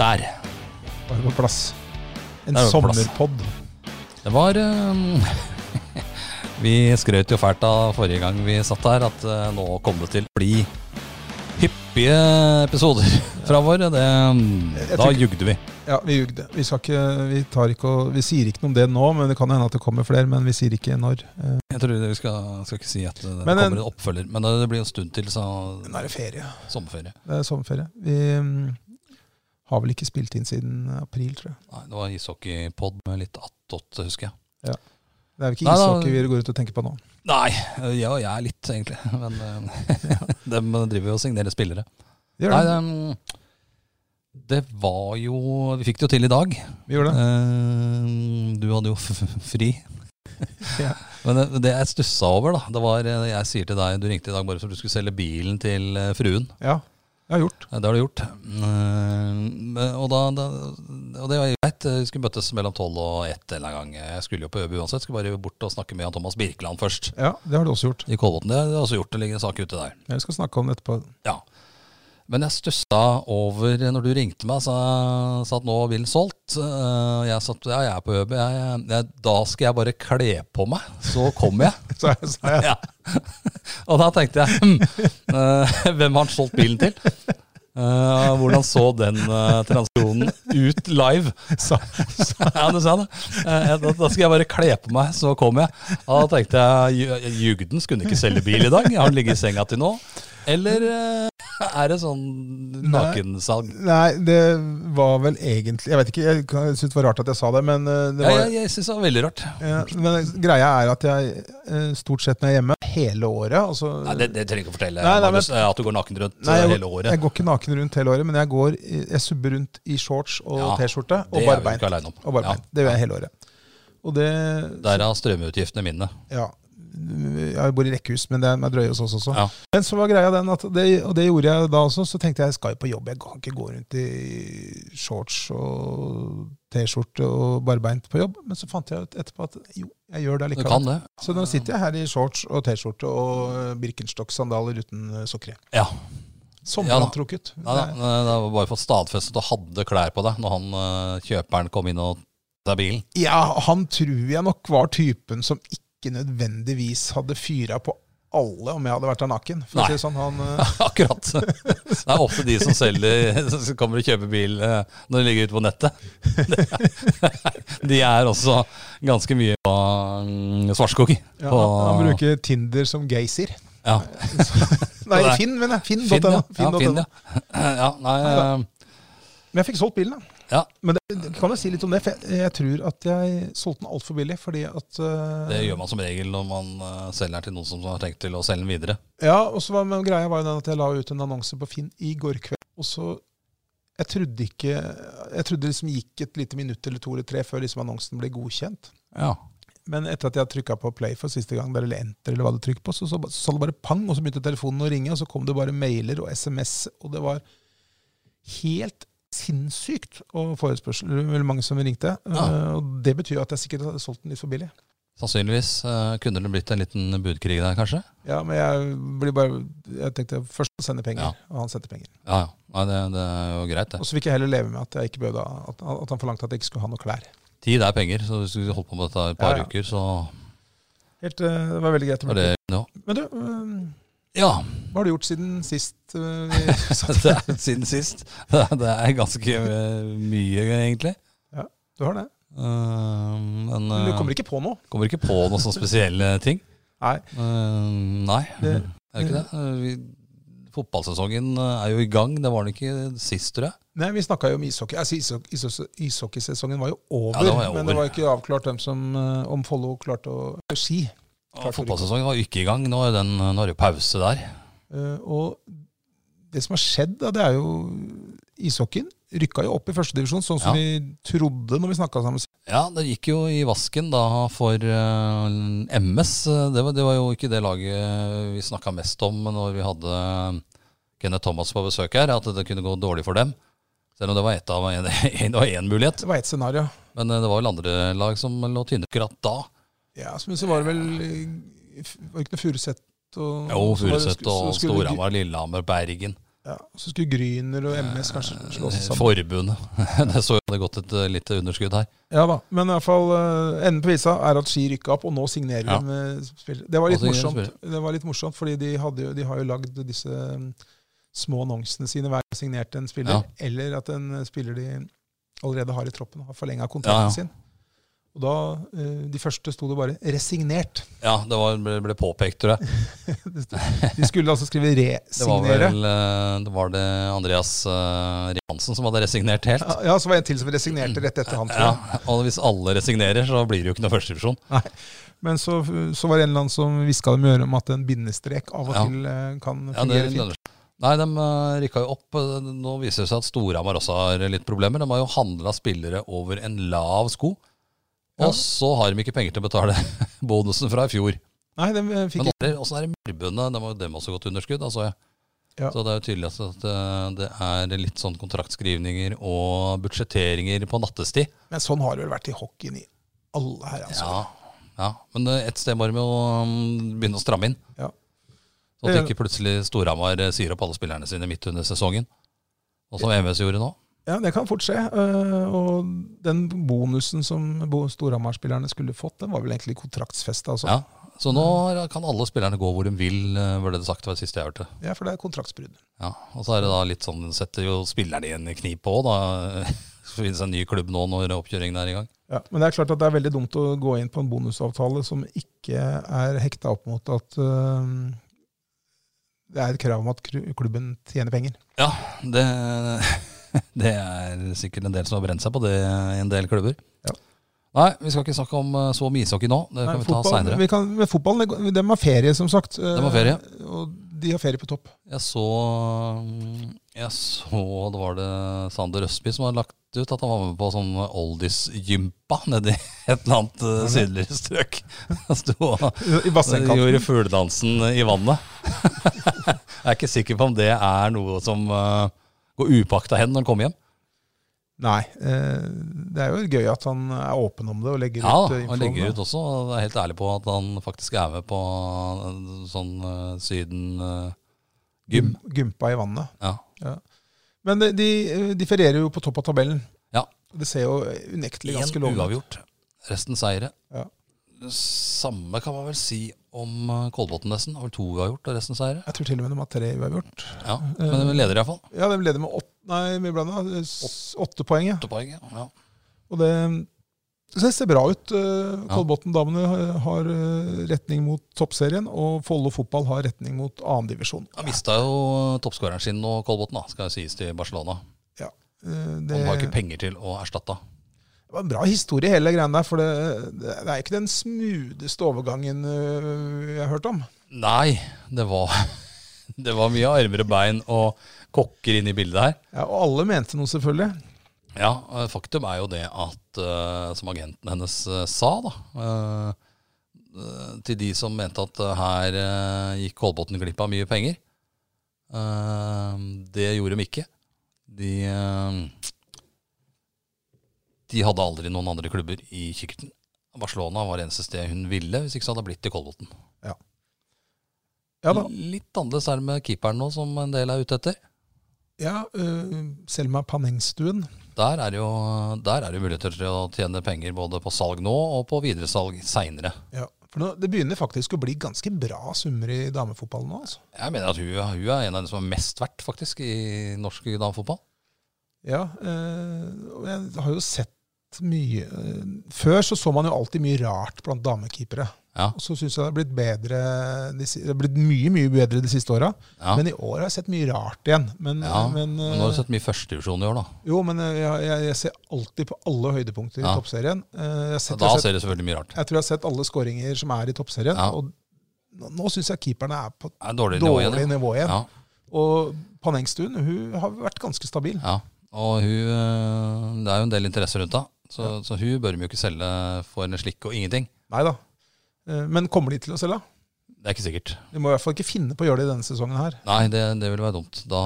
Der. Da er det på plass. En Der er det på plass. sommerpod. Det var eh, Vi skrøt jo fælt av forrige gang vi satt her, at eh, nå kom det til å bli hyppige episoder fra vår. Det, um, Jeg da tror- jugde vi. Ja, vi jugde. Vi, skal ikke, vi, tar ikke og, vi sier ikke noe om det nå, men det kan hende at det kommer flere. Men vi sier ikke når. Eh, Jeg tror vi skal, skal ikke si at uh, det Men en- kommer en oppfølger, men det blir jo en stund til, så Nå er det ferie. sommerferie. Det er sommerferie. Vi mm, har vel ikke spilt inn siden april, tror jeg. Nei, det var ishockeypod med litt attåt, husker jeg. Det er vel ikke Nei, da- ishockey vi går ut og tenker på nå. Nei, jeg og jeg er litt, egentlig. Men de driver jo og signerer spillere. Vi gjør Nei, det. det, um, det var jo Vi fikk det jo til i dag. Vi gjør det. Eh, Du hadde jo f f- fri. Ja. Men det, det jeg stussa over, da, det var eh, Jeg sier til deg, du ringte i dag bare for du skulle selge bilen til eh, fruen. Ja, jeg har gjort. Eh, Det har du gjort. Eh, men- Og, da, da, og det var jo greit. Vi skulle møtes mellom tolv og ett en eller annen gang. Jeg skulle jo på Øbu uansett. Skulle bare bort og snakke med han Thomas Birkeland først. Ja, det har du også gjort. I Kolbotn. Det har jeg også gjort. Det ligger en sak ute der. Jeg skal snakke om det etterpå. Men jeg stussa over eh, når du ringte meg sa, sa at nå er bilen solgt. Eh, Jeg satt, ja, jeg er på ØB. Jeg, jeg, jeg, da skal jeg bare kle på meg, så kommer jeg. Så jeg, så jeg, ja. Og da tenkte jeg hm, eh, hvem har han solgt bilen til? Eh, hvordan så den eh, transaksjonen ut live? sa, ja, du sa det. Eh, da, da skal jeg bare kle på meg, så kommer jeg. Og da tenkte jeg ju- jugden skulle ikke selge bil i dag. Har den ligget i senga til nå? Eller eh, er det sånn nakensalg? Nei, det var vel egentlig Jeg vet ikke, jeg kan- jeg synes det var rart at jeg sa det, men eh, det Ja, var jeg jeg syns det var veldig rart. Ja, Eh, men greia er at jeg eh, stort sett når jeg er hjemme hele året altså, Nei, det, det trenger du ikke fortelle, Nei, nei, men- Magnus, eh, at du går naken rundt Nei, eh, jeg, hele året. jeg går ikke naken rundt hele året, men jeg går i- jeg subber rundt i shorts og Ja, T-skjorte det og er vi barbeint. ikke aleine om. Og barbeint. Det gjør jeg hele året. Og det Derav strømutgiftene mine. Ja. Jeg bor i rekkehus, men det er meg drøye hos oss også. Ja. Men så var greia den at det, Og det gjorde jeg da også. Så tenkte jeg jeg skal jo på jobb, jeg kan ikke gå rundt i shorts og T-skjorte og barbeint på jobb. Men så fant jeg ut etterpå at jo, jeg gjør det Du likevel. kan det. Så nå sitter jeg her i shorts og T-skjorte og eh, Birkenstock-sandaler uten eh, sokker. i. Ja. Sommerantrukket. Nei, da, nei, da var bare fått stadfestet og hadde klær på deg når han eh, kjøperen kom inn og tok deg bilen. Ja, han tror jeg nok var typen som ikke nødvendigvis hadde fyra på alle om jeg hadde vært der naken. For Nei. å si det sånn, han... eh, Akkurat. Det er ofte de som selger som kommer og kjøper bil eh, når de ligger ute på nettet. De er også ganske mye på mm, Svartskog. Ja, på, han, han bruker Tinder som geysir. ja. Nei, Nei. Finn, mener jeg. Finn.no. Finn, ja. ja, Finn.no. Finn, ja. ja nei, eh, Men jeg fikk solgt bilen, da. Ja. Men det, det kan jo si litt om det, for jeg, jeg tror at jeg solgte den altfor billig. Fordi at eh, det gjør man som regel når man eh, selger den til noen som har tenkt til å selge den videre. Ja, og så var men greia var jo den at jeg la ut en annonse på Finn i går kveld. Og så Jeg trodde ikke Jeg trodde det liksom gikk et lite minutt eller to eller tre før liksom annonsen ble godkjent. Ja. Men etter at jeg trykka på play for siste gang, der, eller enter, eller hva du trykker på, så så ba- så sa det bare pang, og så begynte telefonen å ringe, og så kom det bare mailer og SMS, og det var helt sinnssykt og forespørsel, eller mange som ringte. Ja. Eh, Og det betyr jo at jeg sikkert hadde solgt den litt for billig. Sannsynligvis eh, kunne det blitt en liten budkrig der, kanskje. Ja, men jeg blir bare Jeg tenkte først å sende penger, Ja. og han sendte penger. Ja, ja. Nei, det, det er jo greit, det. Og så fikk jeg heller leve med at, jeg ikke behøvde, at, at han forlangte at jeg ikke skulle ha noe klær. Tid er penger, så hvis du holder på med dette i et par Ja, ja. uker, så Helt, eh, det var veldig greit. å er bli det kvitt. ja. Men du, eh, ja. hva har du gjort siden sist? eh, vi satt? Det er siden sist. Det er ganske eh, mye, egentlig. Du har det? Eh, Men Men du kommer eh, ikke på noe? kommer ikke på noen sånne spesielle ting. Nei. Eh, Nei, det Det- er ikke det. Eh, Vi, fotballsesongen eh, er jo i gang. Det var den ikke sist, tror jeg. Nei, Vi snakka jo om ishockey. Altså, ishockey- ishockey- Ishockeysesongen var jo over, Ja, det var jo men over. det var ikke avklart hvem som, eh, om Follo klarte å å ski. Og Klart det Fotballsesongen var jo ikke i gang. Nå er, den, nå er det jo pause der. Eh, Og det som har skjedd, da, det er jo ishockeyen rykka jo opp i førstedivisjon, sånn Ja. som vi trodde når vi snakka sammen. Ja, det gikk jo i vasken da for eh, MS. Det var, det var jo ikke det laget eh, vi snakka mest om når vi hadde eh, Kenneth Thomas på besøk her, at det kunne gå dårlig for dem. Selv om det var ett av en, det var én mulighet. Det var ett scenario. Men eh, det var vel andre lag som lå tynne akkurat da. Ja, så- Men så var det vel eh, f- Var det ikke noe Furuset og Jo, så var det Furuset sku- så og skulle- Storhamar, Lillehammer, Bergen. Ja, så skulle Gryner og MS kanskje Eh, slå seg sammen. Forbundet. det så jo det hadde gått et eh, lite underskudd her. Ja da, Men i hvert fall, eh, enden på visa er at Ski rykka opp, og nå signerer Ja. de med spillere. Det var litt Og signerer morsomt, Det var litt morsomt, fordi de, hadde jo, de har jo lagd disse mm, små annonsene sine hver gang de signerte en spiller, Ja. eller at en eh, spiller de allerede har i troppen, har forlenga Ja, ja. kontrakten sin. Og da, eh, De første sto det bare 'resignert'. Ja, det var, ble, ble påpekt, tror jeg. Det sto- De skulle altså skrive Det var 'resignere'. vel eh, det var det Andreas eh, Riansen som hadde resignert helt. Ja, ja, så var det en til som resignerte rett etter han, tror jeg. Ja, og hvis alle resignerer, så blir det jo ikke noe førstevisjon. Men så, så var det en eller annen som hviska dem i øret om at en bindestrek av og Ja. til eh, kan Ja, det fungere fint. lønner seg. Nei, de eh, rykka jo opp. Eh, Nå viser det seg at Storhamar også har litt problemer. De har jo handla spillere over en lav sko. Ja. Og så har de ikke penger til å betale bonusen fra i fjor. Nei, de eh, fikk Men åssen er det Myrbundet? De har jo dem også gått underskudd. Altså, ja. Ja. Så det er jo tydelig at eh, det er litt sånn kontraktskrivninger og budsjetteringer på nattestid. Men sånn har det vel vært i hockeyen i alle her, altså. Ja, ja. Men eh, et sted må de jo mm, begynne å stramme inn. Ja. Så at ikke plutselig Storhamar eh, sier opp alle spillerne sine midt under sesongen. Og som MS gjorde nå. Ja, det kan fort skje. eh, Og den bonusen som bo- Storhamar-spillerne skulle fått, den var vel egentlig kontraktsfesta. Altså. Ja. Så nå kan alle spillerne gå hvor de vil, eh, ble det sagt. Det var det siste jeg hørte. Ja. for det er kontraktsbrudd. Ja. Og så er det da litt sånn, setter jo spillerne i en knip òg, da. Så finnes det en ny klubb nå når oppkjøringen er i gang. Ja, men det er klart at det er veldig dumt å gå inn på en bonusavtale som ikke er hekta opp mot at eh, det er et krav om at kru- klubben tjener penger. Ja, det, det er sikkert en del som har brent seg på det i en del klubber. Ja. Nei, vi skal ikke snakke om eh, så mye ishockey nå. Det kan Nei, vi ta fotball- seinere. vi kan- Men fotballen, det går- dem har ferie, som sagt. Dem har ferie. Eh, Og de har ferie på topp. Jeg så mm, Jeg så det var det Sander Østby som hadde lagt ut at han var med på sånn oldies-gympa nedi et eller annet eh, sydligere strøk. Han sto og I bassengkanten. gjorde fugledansen i vannet. Jeg er ikke sikker på om det er noe som eh, går upakta hen når han kommer hjem. Nei. eh, Det er jo gøy at han er åpen om det og legger Ja, ut da, eh, han infoen. legger da. ut også. og er helt ærlig på at han faktisk er med på eh, sånn eh, Syden-gym. Gym- Gympa i vannet. Ja. Men de, de, de ferierer jo på topp av tabellen. Ja. Det ser jo unektelig Én ganske lovende ut. uavgjort, resten seire. Ja. Det samme kan man vel si om eh, Kolbotn nesten. Har vel to uavgjort og resten seire. Jeg tror til og med de har tre uavgjort. Ja, Men de leder iallfall. Ja, de leder med åtte, nei, mye blandet, eh, s- åtte poeng. Ja. Åtte poeng. ja. Ja. Og det, så det ser bra ut. Eh, Kolbotn-damene har- har eh, retning mot toppserien, og Follo fotball har retning mot annendivisjon. Han mista jo eh, toppskåreren sin nå, Kolbotn, da, skal sies til Barcelona. Eh, Det, Han har ikke det penger til å erstatte. var en bra historie, hele greia der. For det, det det er ikke den smootheste overgangen eh, jeg har hørt om. Nei, det var, det var mye armer og bein og kokker inne i bildet her. Ja, og alle mente noe, selvfølgelig. Ja, eh, faktum er jo det at, eh, som agenten hennes eh, sa, da, eh, eh, til de som mente at eh, her eh, gikk Kolbotn glipp av mye penger, eh, det gjorde de ikke. De, eh, de hadde aldri noen andre klubber i kikkerten. Barcelona var det eneste sted hun ville, hvis ikke så hadde det blitt til Kolbotn. Ja da. Litt annerledes er det med keeperen nå, som en del er ute etter. Ja, eh, Selma Panengstuen. Der er, jo, der er det jo muligheter til å tjene penger både på salg nå og på videresalg seinere. Ja. For nå, det begynner faktisk å bli ganske bra summer i damefotballen nå. altså. Jeg mener at hun, hun er en av de som er mest verdt faktisk i norsk damefotball. Ja, eh, og jeg har jo sett mye eh, Før så så man jo alltid mye rart blant damekeepere. Ja. Og så syns jeg det har blitt bedre de si- Det har blitt mye, mye bedre de siste åra. Ja. Men i år har jeg sett mye rart igjen. Men, Ja, men, Men eh, nå har du sett mye førstedivisjon i år, da. Jo, men eh, jeg, jeg, jeg ser alltid på alle høydepunkter Ja. i toppserien. Eh, Jeg, har sett- Da jeg, har sett, ser det selvfølgelig mye rart. jeg tror jeg har sett alle skåringer som er i toppserien. Ja. Og nå, nå syns jeg keeperne er på Det er dårlig nivå dårlig igjen. ja. nivå igjen. Ja, Og Panengstuen hun har vært ganske stabil. ja. Og hun, øh, det er jo en del interesse rundt henne, så, så hun bør vi jo ikke selge for en slikk og ingenting. Nei da. Eh, Men kommer de til å selge? Det er ikke sikkert. De må i hvert fall ikke finne på å gjøre det i denne sesongen her. Nei, det, det ville være dumt. Da,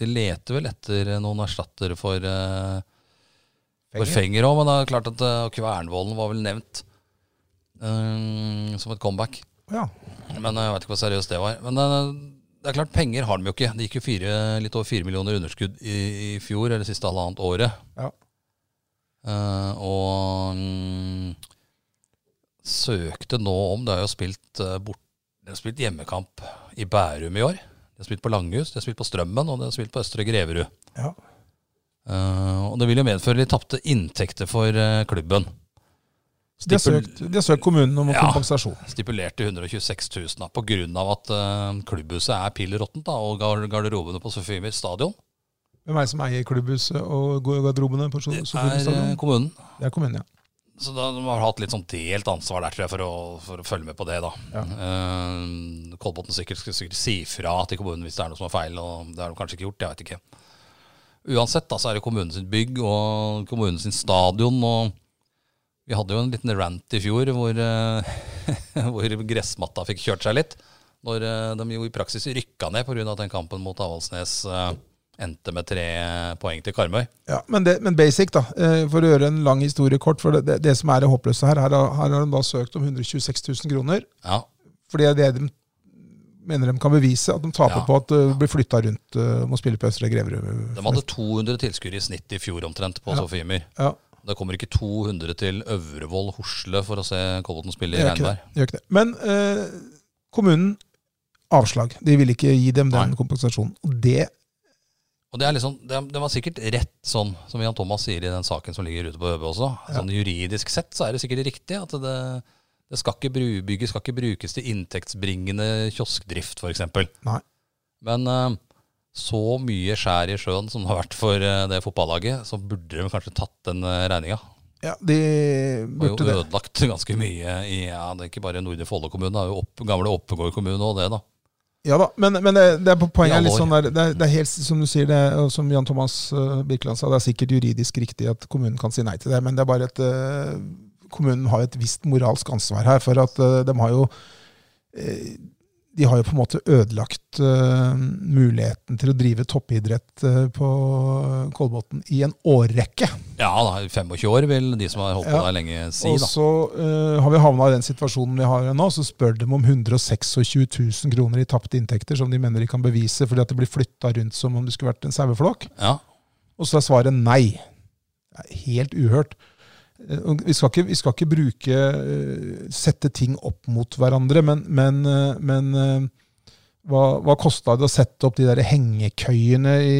de leter vel etter noen erstattere for øh, For Fenger òg, men det er klart at eh, Kvernvollen var vel nevnt eh, som et comeback. Ja. Men jeg veit ikke hvor seriøst det var. Men eh, det er klart, penger har de jo ikke. Det gikk jo fire, litt over fire millioner underskudd i, i fjor, eller siste halvannet året. Ja. Eh, og mm, søkte nå om De har jo spilt, eh, bort, de har spilt hjemmekamp i Bærum i år. De har spilt på Langhus, de har spilt på Strømmen, og de har spilt på Østre Greverud. Ja. Eh, og det vil jo medføre litt tapte inntekter for eh, klubben. De har, Stipul- søkt, de har søkt kommunen om Ja. kompensasjon. stipulerte 126 000 da, på grunn av at eh, klubbhuset er pilleråttent da, og gar- garderobene på Sofiemyr stadion Hvem er det som eier klubbhuset og garderobene på det Sofie er eh, stadion? kommunen. Det er kommunen, ja. Så da, de har hatt litt sånn delt ansvar der, tror jeg, for å, for å følge med på det. da. Ja. Eh, Kolbotn sikkert skal sikkert si fra til kommunen hvis det er noe som er feil, og det har de kanskje ikke gjort, jeg vet ikke. Uansett da, så er det kommunen sitt bygg og kommunen sin stadion. og Vi hadde jo en liten rant i fjor hvor, eh, hvor gressmatta fikk kjørt seg litt. Når eh, de jo i praksis rykka ned pga. at den kampen mot Avaldsnes eh, endte med tre poeng til Karmøy. Ja, men, det, men basic, da. eh, For å gjøre en lang historie kort. For det, det, det som er det håpløse her, her, har- her har de da søkt om 126 000 kroner. Ja, Fordi det er det de mener de kan bevise, at de taper Ja. på at det blir flytta rundt eh, om å spille på Østre Greverud. De hadde 200 tilskuere i snitt i fjor omtrent på Ja. Sofiemyr. Ja, Det kommer ikke 200 til Øvrevoll Hosle for å se Kolbotn spille det i gjør ikke det. regnvær. det Gjør ikke det. Men eh, kommunen avslag. De ville ikke gi dem den Nei. kompensasjonen. Og det Og det, er liksom, det, det var sikkert rett sånn, som Jan Thomas sier i den saken som ligger ute på ØB også. Sånn Juridisk sett så er det sikkert riktig at det, det skal ikke, bru- bygget skal ikke brukes til inntektsbringende kioskdrift f.eks. Nei. Men eh, så mye skjær i sjøen som det har vært for eh, det fotballaget, så burde de kanskje tatt den eh, regninga. Ja, de Det var burde jo det. ødelagt ganske mye i ja, det er ikke bare Nordre Follo kommune, det er jo opp, gamle Oppegård kommune og det, da. Ja da, men, men det, det er på poenget er litt I sånn der, det, er, det er helt som du sier, det, er- og som Jan Thomas eh, Birkeland sa, det er sikkert juridisk riktig at kommunen kan si nei til det, men det er bare at eh, kommunen har et visst moralsk ansvar her, for at eh, de har jo eh, de har jo på en måte ødelagt eh, muligheten til å drive toppidrett eh, på Kolbotn i en årrekke. Ja, da, 25 år vil de som har holdt på Ja. der lenge si, og da. så eh, har vi havna i den situasjonen vi har nå, så spør de om 126 000 kroner i tapte inntekter som de mener de kan bevise fordi at det blir flytta rundt som om det skulle vært en saueflokk. Ja. Og så er svaret nei. Det er helt uhørt. Eh, og Vi skal ikke, vi skal ikke bruke eh, sette ting opp mot hverandre, men, men, eh, men eh, hva, hva kosta det å sette opp de der hengekøyene i,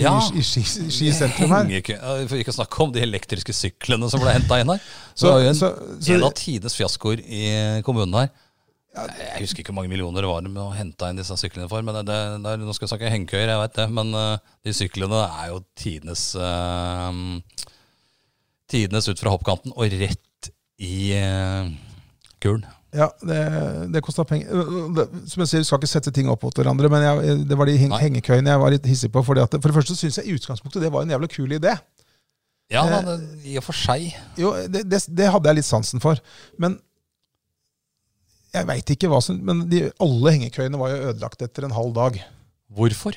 Ja. i, i, Ski- i Ski sentrum her? Hengekø- ja, For ikke å snakke om de elektriske syklene som ble henta inn her. Så, Så, det var jo en, så, så, en av tidenes fiaskoer i kommunen her. Jeg husker ikke hvor mange millioner det var med å hente inn disse syklene for. men det, det, det, er- Nå skal jeg snakke hengekøyer, jeg veit det, men eh, de syklene er jo tidenes eh, Tidenes ut fra hoppkanten og rett i uh, kulen. Ja, det, det kosta penger. Øh, det- Som jeg sier, Vi skal ikke sette ting opp mot hverandre, men jeg, jeg- det var de heng Nei. hengekøyene jeg var litt hissig på. Fordi at, det- for det første syns jeg i utgangspunktet det var en jævla kul idé. Ja, Eh, da, det, i og for seg. Jo, det, det, det hadde jeg litt sansen for. Men jeg veit ikke hva som Men de, alle hengekøyene var jo ødelagt etter en halv dag. Hvorfor?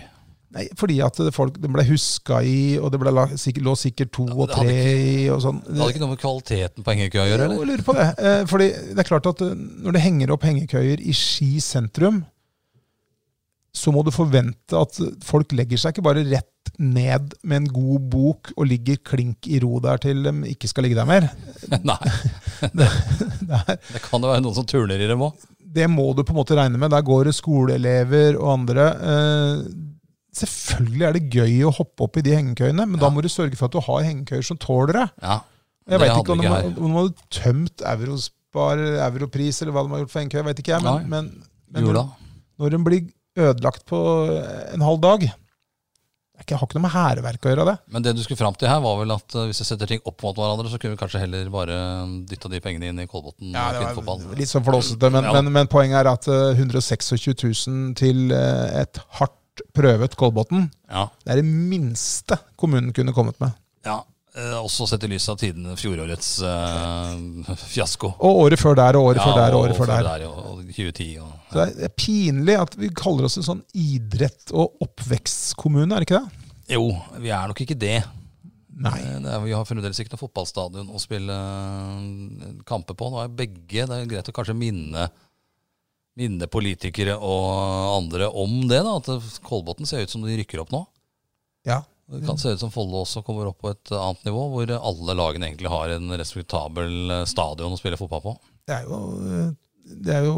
Nei, Fordi at det- folk, det ble huska i, og det ble la, sikkert, lå sikkert to og det hadde tre i og sånn. Det hadde ikke noe med kvaliteten på hengekøya å gjøre, Jo, eller? jeg lurer på det. Eh, Fordi det er klart at eh, når det henger opp hengekøyer i Ski sentrum, så må du forvente at folk legger seg ikke bare rett ned med en god bok og ligger klink i ro der til de ikke skal ligge der mer. Nei, Det, er, det kan jo være noen som turner i dem òg. det må du på en måte regne med. Der går det skoleelever og andre. Eh, Selvfølgelig er det gøy å hoppe opp i de hengekøyene, men da Ja. må du sørge for at du har hengekøyer som tåler det. Ja. Det Jeg vet hadde ikke om vi de, ikke har- om de hadde tømt Eurospar, Europris eller hva de har gjort for NK, jeg vet ikke jeg. Men, Nei. men, men Jula. når, når de blir ødelagt på en halv dag det er ikke, Har ikke noe med hærverk å gjøre, det. Men det du skulle fram til her, var vel at eh, hvis vi setter ting opp mot hverandre, så kunne vi kanskje heller bare dytta de pengene inn i Kolbotn eh, ja, kvinnefotball. litt sånn flåsete, men, Ja. men, men poenget er at eh, 126 000 til eh, et hardt prøvet Kolbotn, Ja. det er det minste kommunen kunne kommet med. ja. Eh, også sett i lys av tiden fjorårets eh, fiasko. Og året før der, og året før der, og året før der. og, og 2010 og Så det er pinlig at vi kaller oss en sånn idrett- og oppvekstkommune, er det ikke det? Jo, vi er nok ikke det. Nei. Eh, Det er, vi har fremdeles ikke noe fotballstadion å spille eh, kamper på. Nå er begge, Det er greit å kanskje minne minne politikere og andre om det. da, At det- Kolbotn ser ut som de rykker opp nå. Ja. Det kan se ut som Follo også kommer opp på et annet nivå, hvor alle lagene egentlig har en respektabel eh, stadion å spille fotball på. Det er jo, eh, det er jo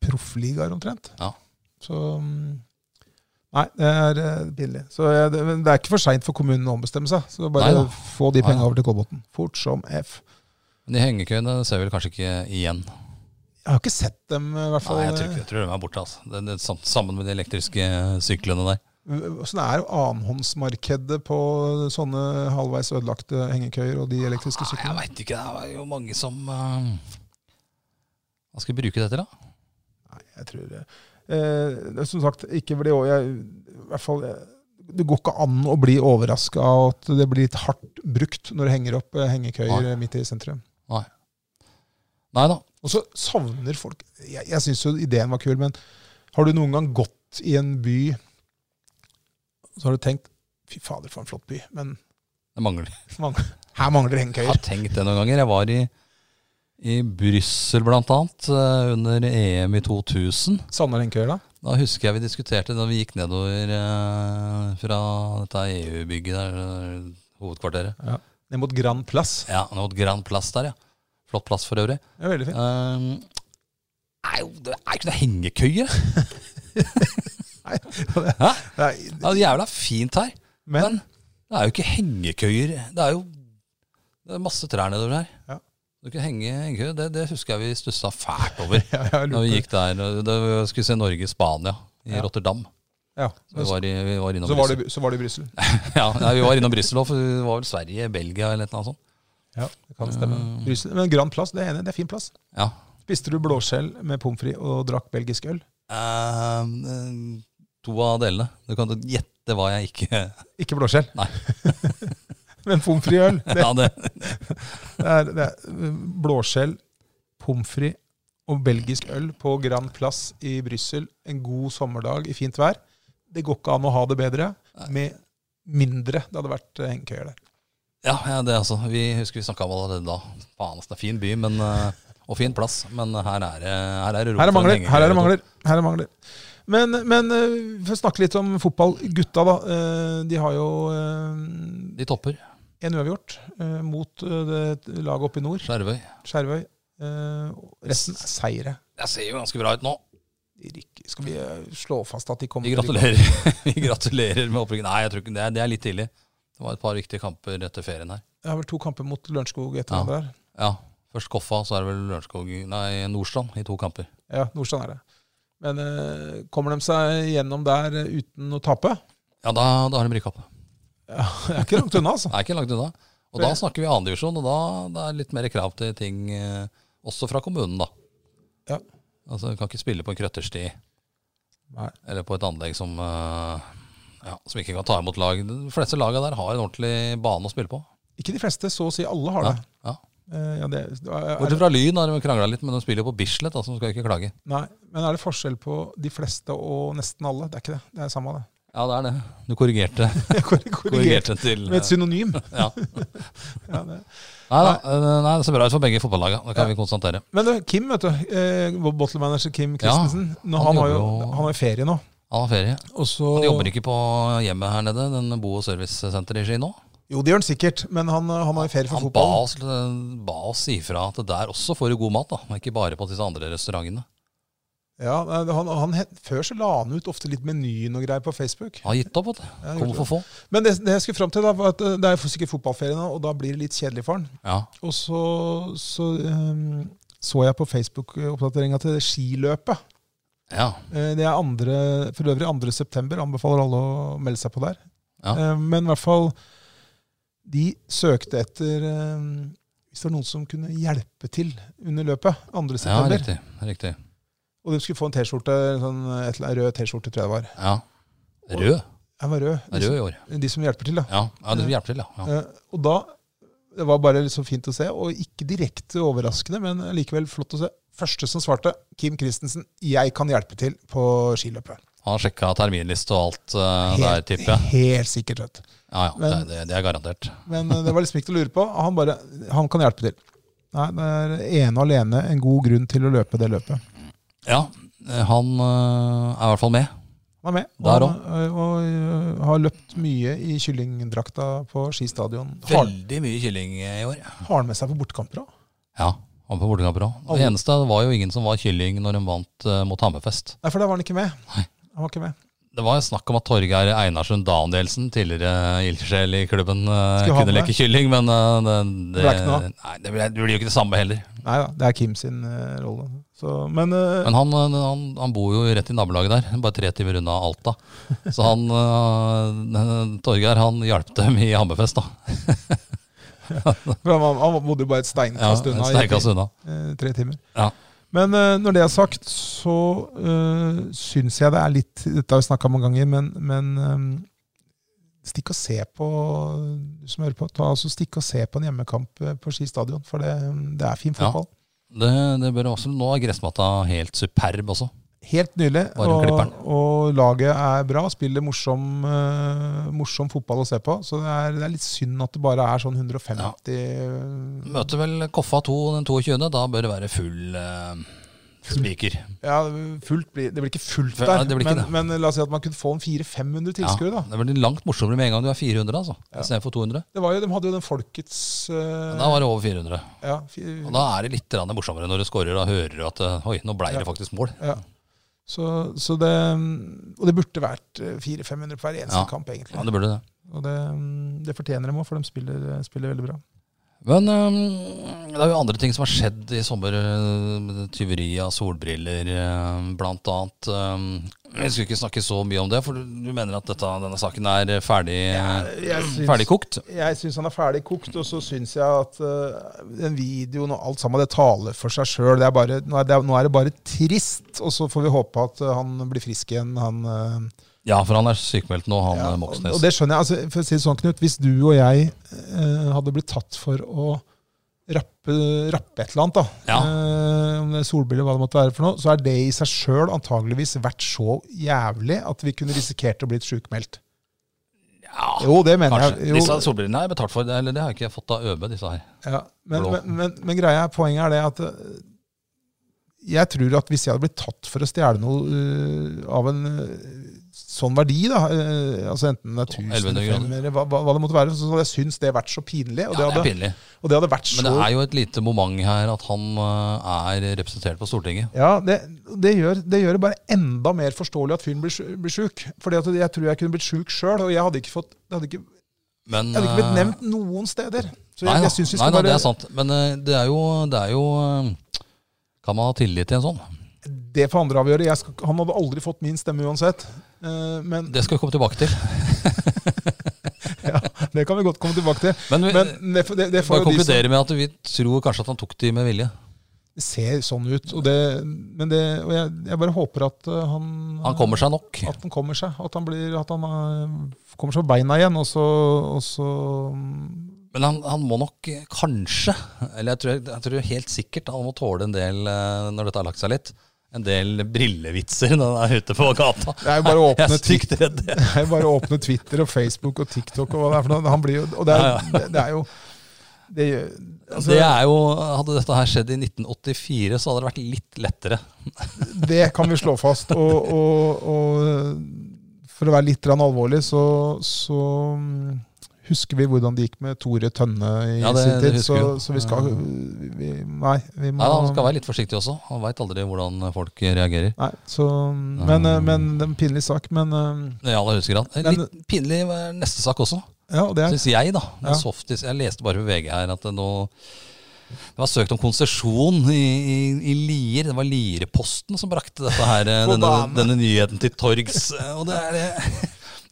proffligaer omtrent. Ja. Så mm, Nei, det er eh, pinlig. Så eh, det, men det er ikke for seint for kommunen å ombestemme seg. Så bare Neida. få de penga Neida. over til Kolbotn. Fort som F. Men de hengekøyene ser vi vel kanskje ikke igjen. Jeg har ikke sett dem, eh, i hvert fall. Nei, jeg tror, ikke, jeg tror de er borte, altså. Det, det, sam- sammen med de elektriske syklene der. Åssen er jo annenhåndsmarkedet på sånne halvveis ødelagte hengekøyer og de elektriske Nei, jeg syklene? veit ikke. Det er jo mange som eh, Hva skal vi bruke det til, da? Nei, jeg tror det. Eh, det er som sagt, ikke bli over- jeg, i hvert fall, eh, Det går ikke an å bli overraska av at det blir litt hardt brukt når du henger opp eh, hengekøyer Nei. midt i sentrum. Nei da. Og så savner folk Jeg, jeg syns jo ideen var kul, men har du noen gang gått i en by så har du tenkt Fy fader, for en flott by, men Det mangler. her mangler det Jeg hengekøyer. har tenkt det noen ganger. Jeg var i, i Brussel blant annet, eh, under EM i 2000. Savner hengekøyer, da? Da husker jeg vi diskuterte da vi gikk nedover eh, fra dette EU-bygget der, eh, hovedkvarteret. Ned mot Grand Plass. Ja, noe Grand Plass der, ja. Flott plass for øvrig. Det er veldig fint. Um, nei, jo, det er ikke noe hengekøye. Nei, Det er jo jævla fint her. men Det er jo ikke hengekøyer. Det er jo det er masse trær nedover her. Ja. Du kan henge hengekøye. Det, det husker jeg vi stussa fælt over ja, jeg da vi lurer på gikk der. og Da vi skulle se Norge-Spania i Ja. Rotterdam. ja. Så vi var, i, vi var innom Så var Brussel. det, så var det i Brussel. ja, nei, vi var innom Brussel òg, for det var vel Sverige, Belgia eller noe sånt. Ja, det kan stemme. Mm. Brussel. Men Grand Plass, det er enig, det er fin plass. Ja. Spiste du blåskjell med pommes frites og drakk belgisk øl? Ehm, eh, to av delene. Du kan gjette hva jeg ikke Ikke blåskjell. Nei. Men pommes frites og øl. Det, Ja, det, det er, det er blåskjell, pommes frites og belgisk øl på Grand Plass i Brussel en god sommerdag i fint vær. Det går ikke an å ha det bedre med mindre det hadde vært eh, hengekøyer der. ja, ja, det altså. Vi husker vi snakka om allerede da. Faen, altså, det er fin by men, eh, og fin plass, men her er det her er det rom for Her er en mangler. hengekøye. Her er det mangler. Her er det mangler. Men, men eh, for å snakke litt om fotball. Gutta, da. eh, De har jo eh, De topper. En uavgjort eh, mot eh, det laget oppe i nord, Skjervøy. Skjervøy. Eh, og resten er seire. Det ser jo ganske bra ut nå. De rykker- Skal vi eh, slå fast at de kommer Vi til å rykke opp? gratulerer, vi gratulerer med opprykket. Nei, jeg tror ikke det. er- Det er litt tidlig. Det var et par viktige kamper etter ferien her. Det er vel to kamper mot Lørenskog etter Ja. hverandre her. Ja, Først Koffa, så er det vel Lørenskog Nei, Nordstrand i to kamper. Ja, Nordstrand er det. Men eh, kommer de seg gjennom der eh, uten å tape? Ja, da, da har de rykka opp. Ja, det er ikke langt unna, altså. Det er ikke langt unna. Og da snakker vi andredivisjon, og da det er litt mer krav til ting eh, også fra kommunen, da. Ja. Altså, du kan ikke spille på en krøttersti Nei. eller på et anlegg som, eh, ja, som ikke kan ta imot lag. De fleste lagene der har en ordentlig bane å spille på. Ikke de fleste, så å si alle har det. Ja. Eh, ja, det er, er, Bortsett fra Lyn har de krangla litt, men de spiller jo på Bislett, da, så de skal ikke klage. nei, men er det forskjell på de fleste og nesten alle? Det er ikke det. Det er samme, det. Ja, det er det. Du korrigerte, Jeg korrigerte korrigerte til med et eh, synonym. ja. Ja, det. Nei da, eh, nei, det ser bra ut for begge fotballagene. Det kan vi konstatere. Men du, Kim, vet du. Eh, vår Bottle-manager Kim Christensen. nå, han han, har jo, jobber jo- han har jo ferie nå. Han har ferie. Og så, Han jobber ikke på hjemmet her nede, den bo- og servicesenteret i Ski nå. Jo, det gjør han sikkert, men han, eh, han har jo ferie for Han eh, ba fotballen. oss, ba oss si ifra at der også får du god mat, da. Ikke bare på disse andre restaurantene. Ja, nei, han, han, het- før så la han ut ofte litt menyen og greier på Facebook. Han har gitt opp, vet du. Ja, Kommer gjorde det. for få. Men det, det jeg skulle fram til, da, var at eh, det er jo sikkert fotballferie nå, og da blir det litt kjedelig for han. Ja. Og så så, eh, så jeg på Facebook-oppdateringa til skiløpet. ja. Eh, Det er andre, for øvrig 2. september. Anbefaler alle å melde seg på der. Ja. Eh, Men i hvert fall De søkte etter eh, Hvis det var noen som kunne hjelpe til under løpet. 2. ja september. riktig. riktig. og de skulle få en T-skjorte, en sånn, et eller annet rød T-skjorte, tror jeg det var. Ja. Rød. Jeg var rød. De, Rød i år. som- de som hjelper til, da. Ja, ja du hjelper til, ja. ja. Eh, Og da Det var bare liksom fint å se, og ikke direkte overraskende, men likevel flott å se. Første som svarte, Kim Christensen. 'Jeg kan hjelpe til' på skiløpet. Han har sjekka terminliste og alt eh, der, tipper jeg. helt sikkert. Vet. du. Ja ja, det, Men- det, det er garantert. Men eh, det var liksom ikke til å lure på. Han bare Han kan hjelpe til. Nei, det er ene og alene en god grunn til å løpe det løpet. Ja, han eh, er i hvert fall med. Han er med, Der og, og, øh, har løpt mye i kyllingdrakta på skistadion. Har, Veldig mye kylling eh, i år. har han med seg på bortekamper òg? Ja, han på bortekamper òg. Det eneste var jo ingen som var kylling når de vant eh, mot Hammerfest. Nei, for da var han ikke med. Han var ikke med. Det var snakk om at Torgeir Einarsson Danielsen, tidligere ildsjel i klubben, eh, Skulle ha kunne med. leke kylling, men eh, det, det, Ble ikke noe av. nei, det, ble, det blir jo ikke det samme heller. Nei da, det er Kim sin øh, rolle. Så, men, øh, Men han, eh, han, han bor jo rett i nabolaget der, bare tre timer unna Alta. Så han eh, Torgeir han hjalp dem i Hammerfest, da. for han, var- han bodde jo bare et Ja, steinkast unna. i- Sterkest unna. eh, tre timer. Ja. Men eh, når det er sagt, så uh, syns jeg det er litt Dette har vi snakka om mange ganger, men, men eh, stikk og se på du som hører på, ta, altså, stikk og se på en hjemmekamp eh, på Ski stadion, for det, det er fin Ja. fotball. Det, det bør også, nå er gressmatta helt superb også. Helt nylig, Bare og, klipperen. og laget er bra. Spiller morsom, eh, morsom fotball å se på. Så det er, det er litt synd at det bare er sånn 150 Møter vel Koffa 2 den 22., da bør det være full eh, spiker. Ja, fullt blir, Det blir ikke fullt Ja, der, det blir ikke men, men la oss si at man kunne få en 400-500 tilskuere, da. Ja, det blir langt morsommere med en gang du er 400, altså. Ja. Istedenfor 200. Det var jo, de hadde jo den folkets eh, Da var det over 400. ja, fi- Og da er det litt grann morsommere når du scorer og hører du at eh, oi, nå blei det faktisk mål. ja. Så, så det Og det burde vært eh, 400-500 på hver eneste Ja. kamp, egentlig. Ja, det burde det. Og det, mm, det fortjener de òg, for de spiller, eh, spiller veldig bra. Men eh, det er jo andre ting som har skjedd i sommer. eh, Tyveri av solbriller, eh, blant annet. Eh, Jeg skulle ikke snakke så mye om det, for du du mener at dette, denne saken er ferdig, eh, Eh, jeg syns- ferdig kokt? Jeg syns han er ferdig kokt, og så syns jeg at eh, den videoen og alt sammen, det taler for seg sjøl. Nå, er det- nå er det bare trist, og så får vi håpe at eh, han blir frisk igjen, han eh, Ja, for han er sykemeldt nå, han Ja, eh, Og, og Moxnes. det skjønner jeg. Altså, for å si det sånn, Knut, hvis du og jeg eh, hadde blitt tatt for å rappe, rappe et eller annet, da, Ja. eh, om det er solbriller hva det måtte være for noe, så er det i seg sjøl antageligvis vært så jævlig at vi kunne risikert å bli sjukmeldt. Ja, Jo, det mener kanskje. jeg. Disse Jo, solbrillene har jeg betalt for, det- eller det har jeg ikke fått av ØB, disse her. ja. men, blå. men, men, men greia er, poenget er det at eh, jeg tror at hvis jeg hadde blitt tatt for å stjele noe eh, av en eh, sånn verdi, da, eh, altså enten det er 1000 1100 kroner. kroner, hva, hva, hva det måtte være, så hadde jeg syntes det vært så pinlig. Ja, Og det hadde, er pinlig. Og det hadde vært så Men det er jo et lite moment her at han eh, er representert på Stortinget. Ja, det, det, gjør, det gjør det bare enda mer forståelig at fyren blir, sj- blir sjuk. For jeg tror jeg kunne blitt sjuk sjøl, og jeg hadde ikke, fått, det hadde ikke, Men, jeg hadde ikke blitt eh, nevnt noen steder. Så Nei, jeg, da. jeg synes vi nei, skal da, det bare er sant. Men eh, det er jo, det er jo eh, Kan man ha tillit til en sånn? Det får andre avgjøre. Jeg skal, han hadde aldri fått min stemme uansett. Eh, men Det skal vi komme tilbake til. ja, det kan vi godt komme tilbake til. Men vi Men det, får- det, det vi får bare jo de som konkluderer med at vi tror kanskje at han tok de med vilje. Det ser sånn ut. Og, det, men det, og jeg, jeg bare håper at eh, han Han kommer seg nok. At han kommer seg. At han, blir, at han eh, kommer seg på beina igjen, og så, og så mm, Men han, han må nok eh, kanskje, eller jeg tror, jeg tror helt sikkert, han må tåle en del, eh, når dette har lagt seg litt, en del brillevitser når han er ute på gata. Det er jo bare å Jeg åpne, er stygt redd. det er jo bare å åpne Twitter og Facebook og TikTok og hva det er for noe. Han blir jo, og det er, det, det er jo det, gjør- altså, det er jo, hadde dette her skjedd i 1984, så hadde det vært litt lettere. det kan vi slå fast. Og, og, og for å være litt grann alvorlig, så, så mm, husker vi hvordan det gikk med Tore Tønne i Ja, det- sin det tid. husker Så, vi jo. så vi skal vi, vi- Nei, vi må Nei, Han skal være litt forsiktig også. Han veit aldri hvordan folk reagerer. Nei, så, men, eh, men det er en pinlig sak. Men eh, I aller høyeste grad. Men- Litt pinlig var neste sak også, ja, og det er syns jeg, da. Ja. Softis. Jeg leste bare på VG her at det nå det var søkt om konsesjon i, i, i Lier. Det var Liereposten som brakte dette her, eh, På denne, banen. denne nyheten til torgs. Og det, er,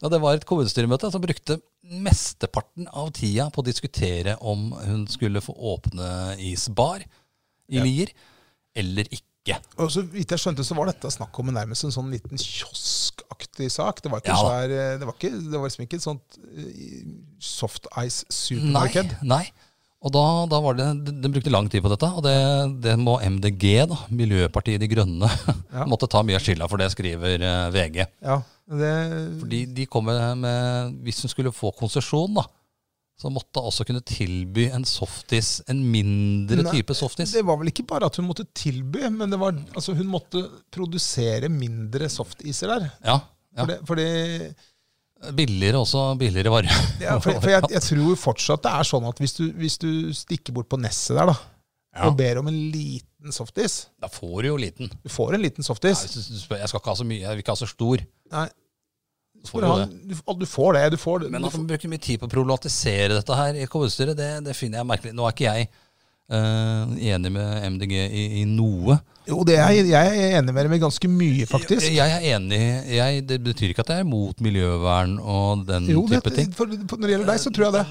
og det var et kommunestyremøte som brukte mesteparten av tida på å diskutere om hun skulle få åpne isbar i Lier eller ikke. Og så vidt jeg skjønte, så var dette snakk om en nærmest en sånn liten kioskaktig sak. Det var Ja ikke da. svær, det var, ikke, det var liksom ikke et sånt eh, soft ice Nei, supermarked. nei. Og da, da var det, de, de brukte lang tid på dette, og det, det må MDG, da, Miljøpartiet De Grønne, Ja. måtte ta mye av skylda for det, skriver eh, VG. Ja, det, Fordi de kom med, med Hvis hun skulle få konsesjon, da, så måtte hun også kunne tilby en softis, en mindre Nei, type softis. Det var vel ikke bare at hun måtte tilby, men det var, altså, hun måtte produsere mindre softiser der. Ja, ja. For, det, for, det, Billigere også, billigere vare. ja, for, for jeg, jeg tror fortsatt det er sånn at hvis du, hvis du stikker bort på Nesset der da, Ja. og ber om en liten softis Da får du jo liten. Du får en liten Nei, softis. hvis du spør, jeg skal ikke ha så mye, jeg vil ikke ha så stor. Nei, Så for får du han- det. du, og du får det. Du får det. Men du han bruker mye tid på å problematisere dette her i kommunestyret. Det, det finner jeg merkelig. Nå er ikke jeg eh, enig med MDG i, i noe. får- jo, det er, jeg er enig med dem i ganske mye, faktisk. Jeg, jeg er enig. Jeg, det betyr ikke at jeg er mot miljøvern og den Jo, det, type ting. for, for når det gjelder deg, så tror jeg det.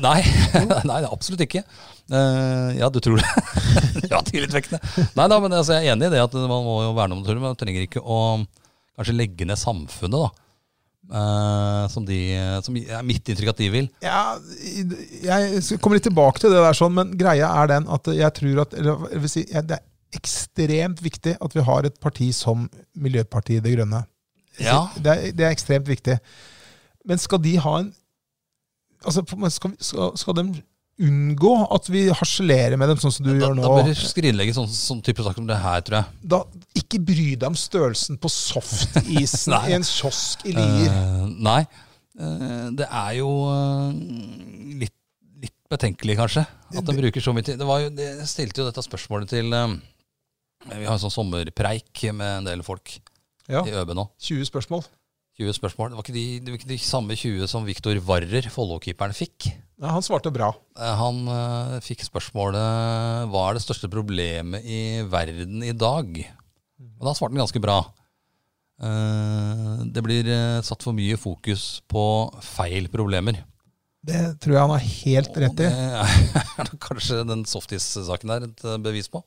Nei, nei, absolutt ikke. Eh, ja, du tror det. det var tillitvekkende. Nei da, men altså, jeg er enig i det at man må jo verne om naturen, men man trenger ikke å kanskje legge ned samfunnet, da. Eh, som, de, som er mitt inntrykk at de vil. Ja, jeg skal- kommer litt tilbake til det der, sånn, men greia er den at jeg tror at eller, jeg vil si, ja, Det er ekstremt viktig at vi har et parti som Miljøpartiet De Grønne. Ja, Det er, det er ekstremt viktig. Men skal de ha en Altså, på en måte, skal, vi- skal, skal de unngå at vi harselerer med dem, sånn som da, du gjør nå? da bør du skrinlegge sånn, sånn type sak som det her, tror jeg. da, ikke bry deg om størrelsen på softisen Nei. i en kiosk i Lier. Eh, nei. Eh, det er jo eh, litt, litt betenkelig, kanskje, at de bruker så mye tid. Det var jo, jeg stilte jo dette spørsmålet til eh, Vi har en sånn sommerpreik med en del folk Ja, i ØB nå. 20 spørsmål. 20 spørsmål. Det var ikke de, det var ikke de samme 20 som Viktor Varrer, Follo-keeperen, fikk. Ja, han svarte bra. Eh, Han eh, fikk spørsmålet hva er det største problemet i verden i dag? Og da svarte han ganske bra. Eh, Det blir eh, satt for mye fokus på feil problemer. Det tror jeg han har helt rett i. Det er nok kanskje den softis-saken der et eh, bevis på.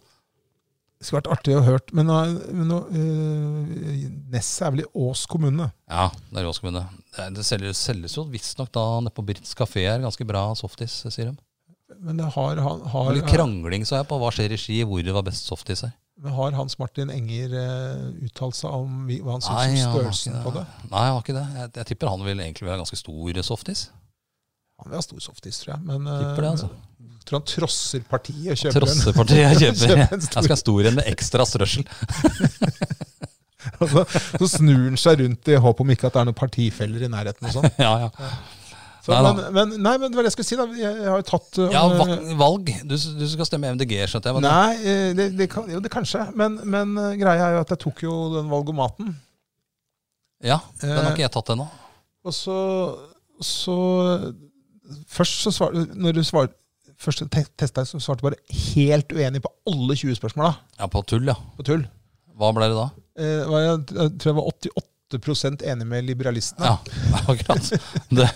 Det skulle vært artig å hørt, men, nå- men nå, øh, Nesset er vel i Ås kommune. Ja, det er Ås kommune. Det er- Det selges, selges jo visstnok da nede på Britts kafé her ganske bra softis, sier de. Men det har, han, har, Litt krangling så jeg på hva skjer i Ski, hvor det var best softis her. eh, men har Hans Martin Enger øh, uttalt seg om vi- hva han syns Nei, om han har størrelsen ikke på det? Nei, han har ikke det. Jeg, jeg tipper han vil egentlig være ganske stor softis. Han vil ha stor softis, tror jeg. Men øh, Tipper det, altså. jeg tror han trosser partiet og kjøper en. Trossepartiet kjøper. Kjøper en Jeg stor- skal ha stor en med ekstra strøssel. Og så, Altså, så snur han seg rundt i håp om ikke at det er noen partifeller i nærheten. og sånn. Ja, ja. Så, Nei da. men, men, nei, men det var det jeg skulle si. da. Jeg, jeg har jo tatt uh, ja om, uh, va- valg. Du, s- du skal stemme MDG, skjønte jeg. men- Nei, eh, det, det kan, jo, det kanskje. Men, men uh, greia er jo at jeg tok jo den valgomaten. Ja, Den Eh. har ikke jeg tatt ennå. Og så, så Først så svarte Når du svar, først te testa jeg, så svarte jeg bare helt uenig på alle 20 spørsmåla. Ja, På tull, ja. På tull. Hva ble det da? Eh, var jeg, jeg tror jeg var 88 enig med liberalistene. Ja, akkurat. Det,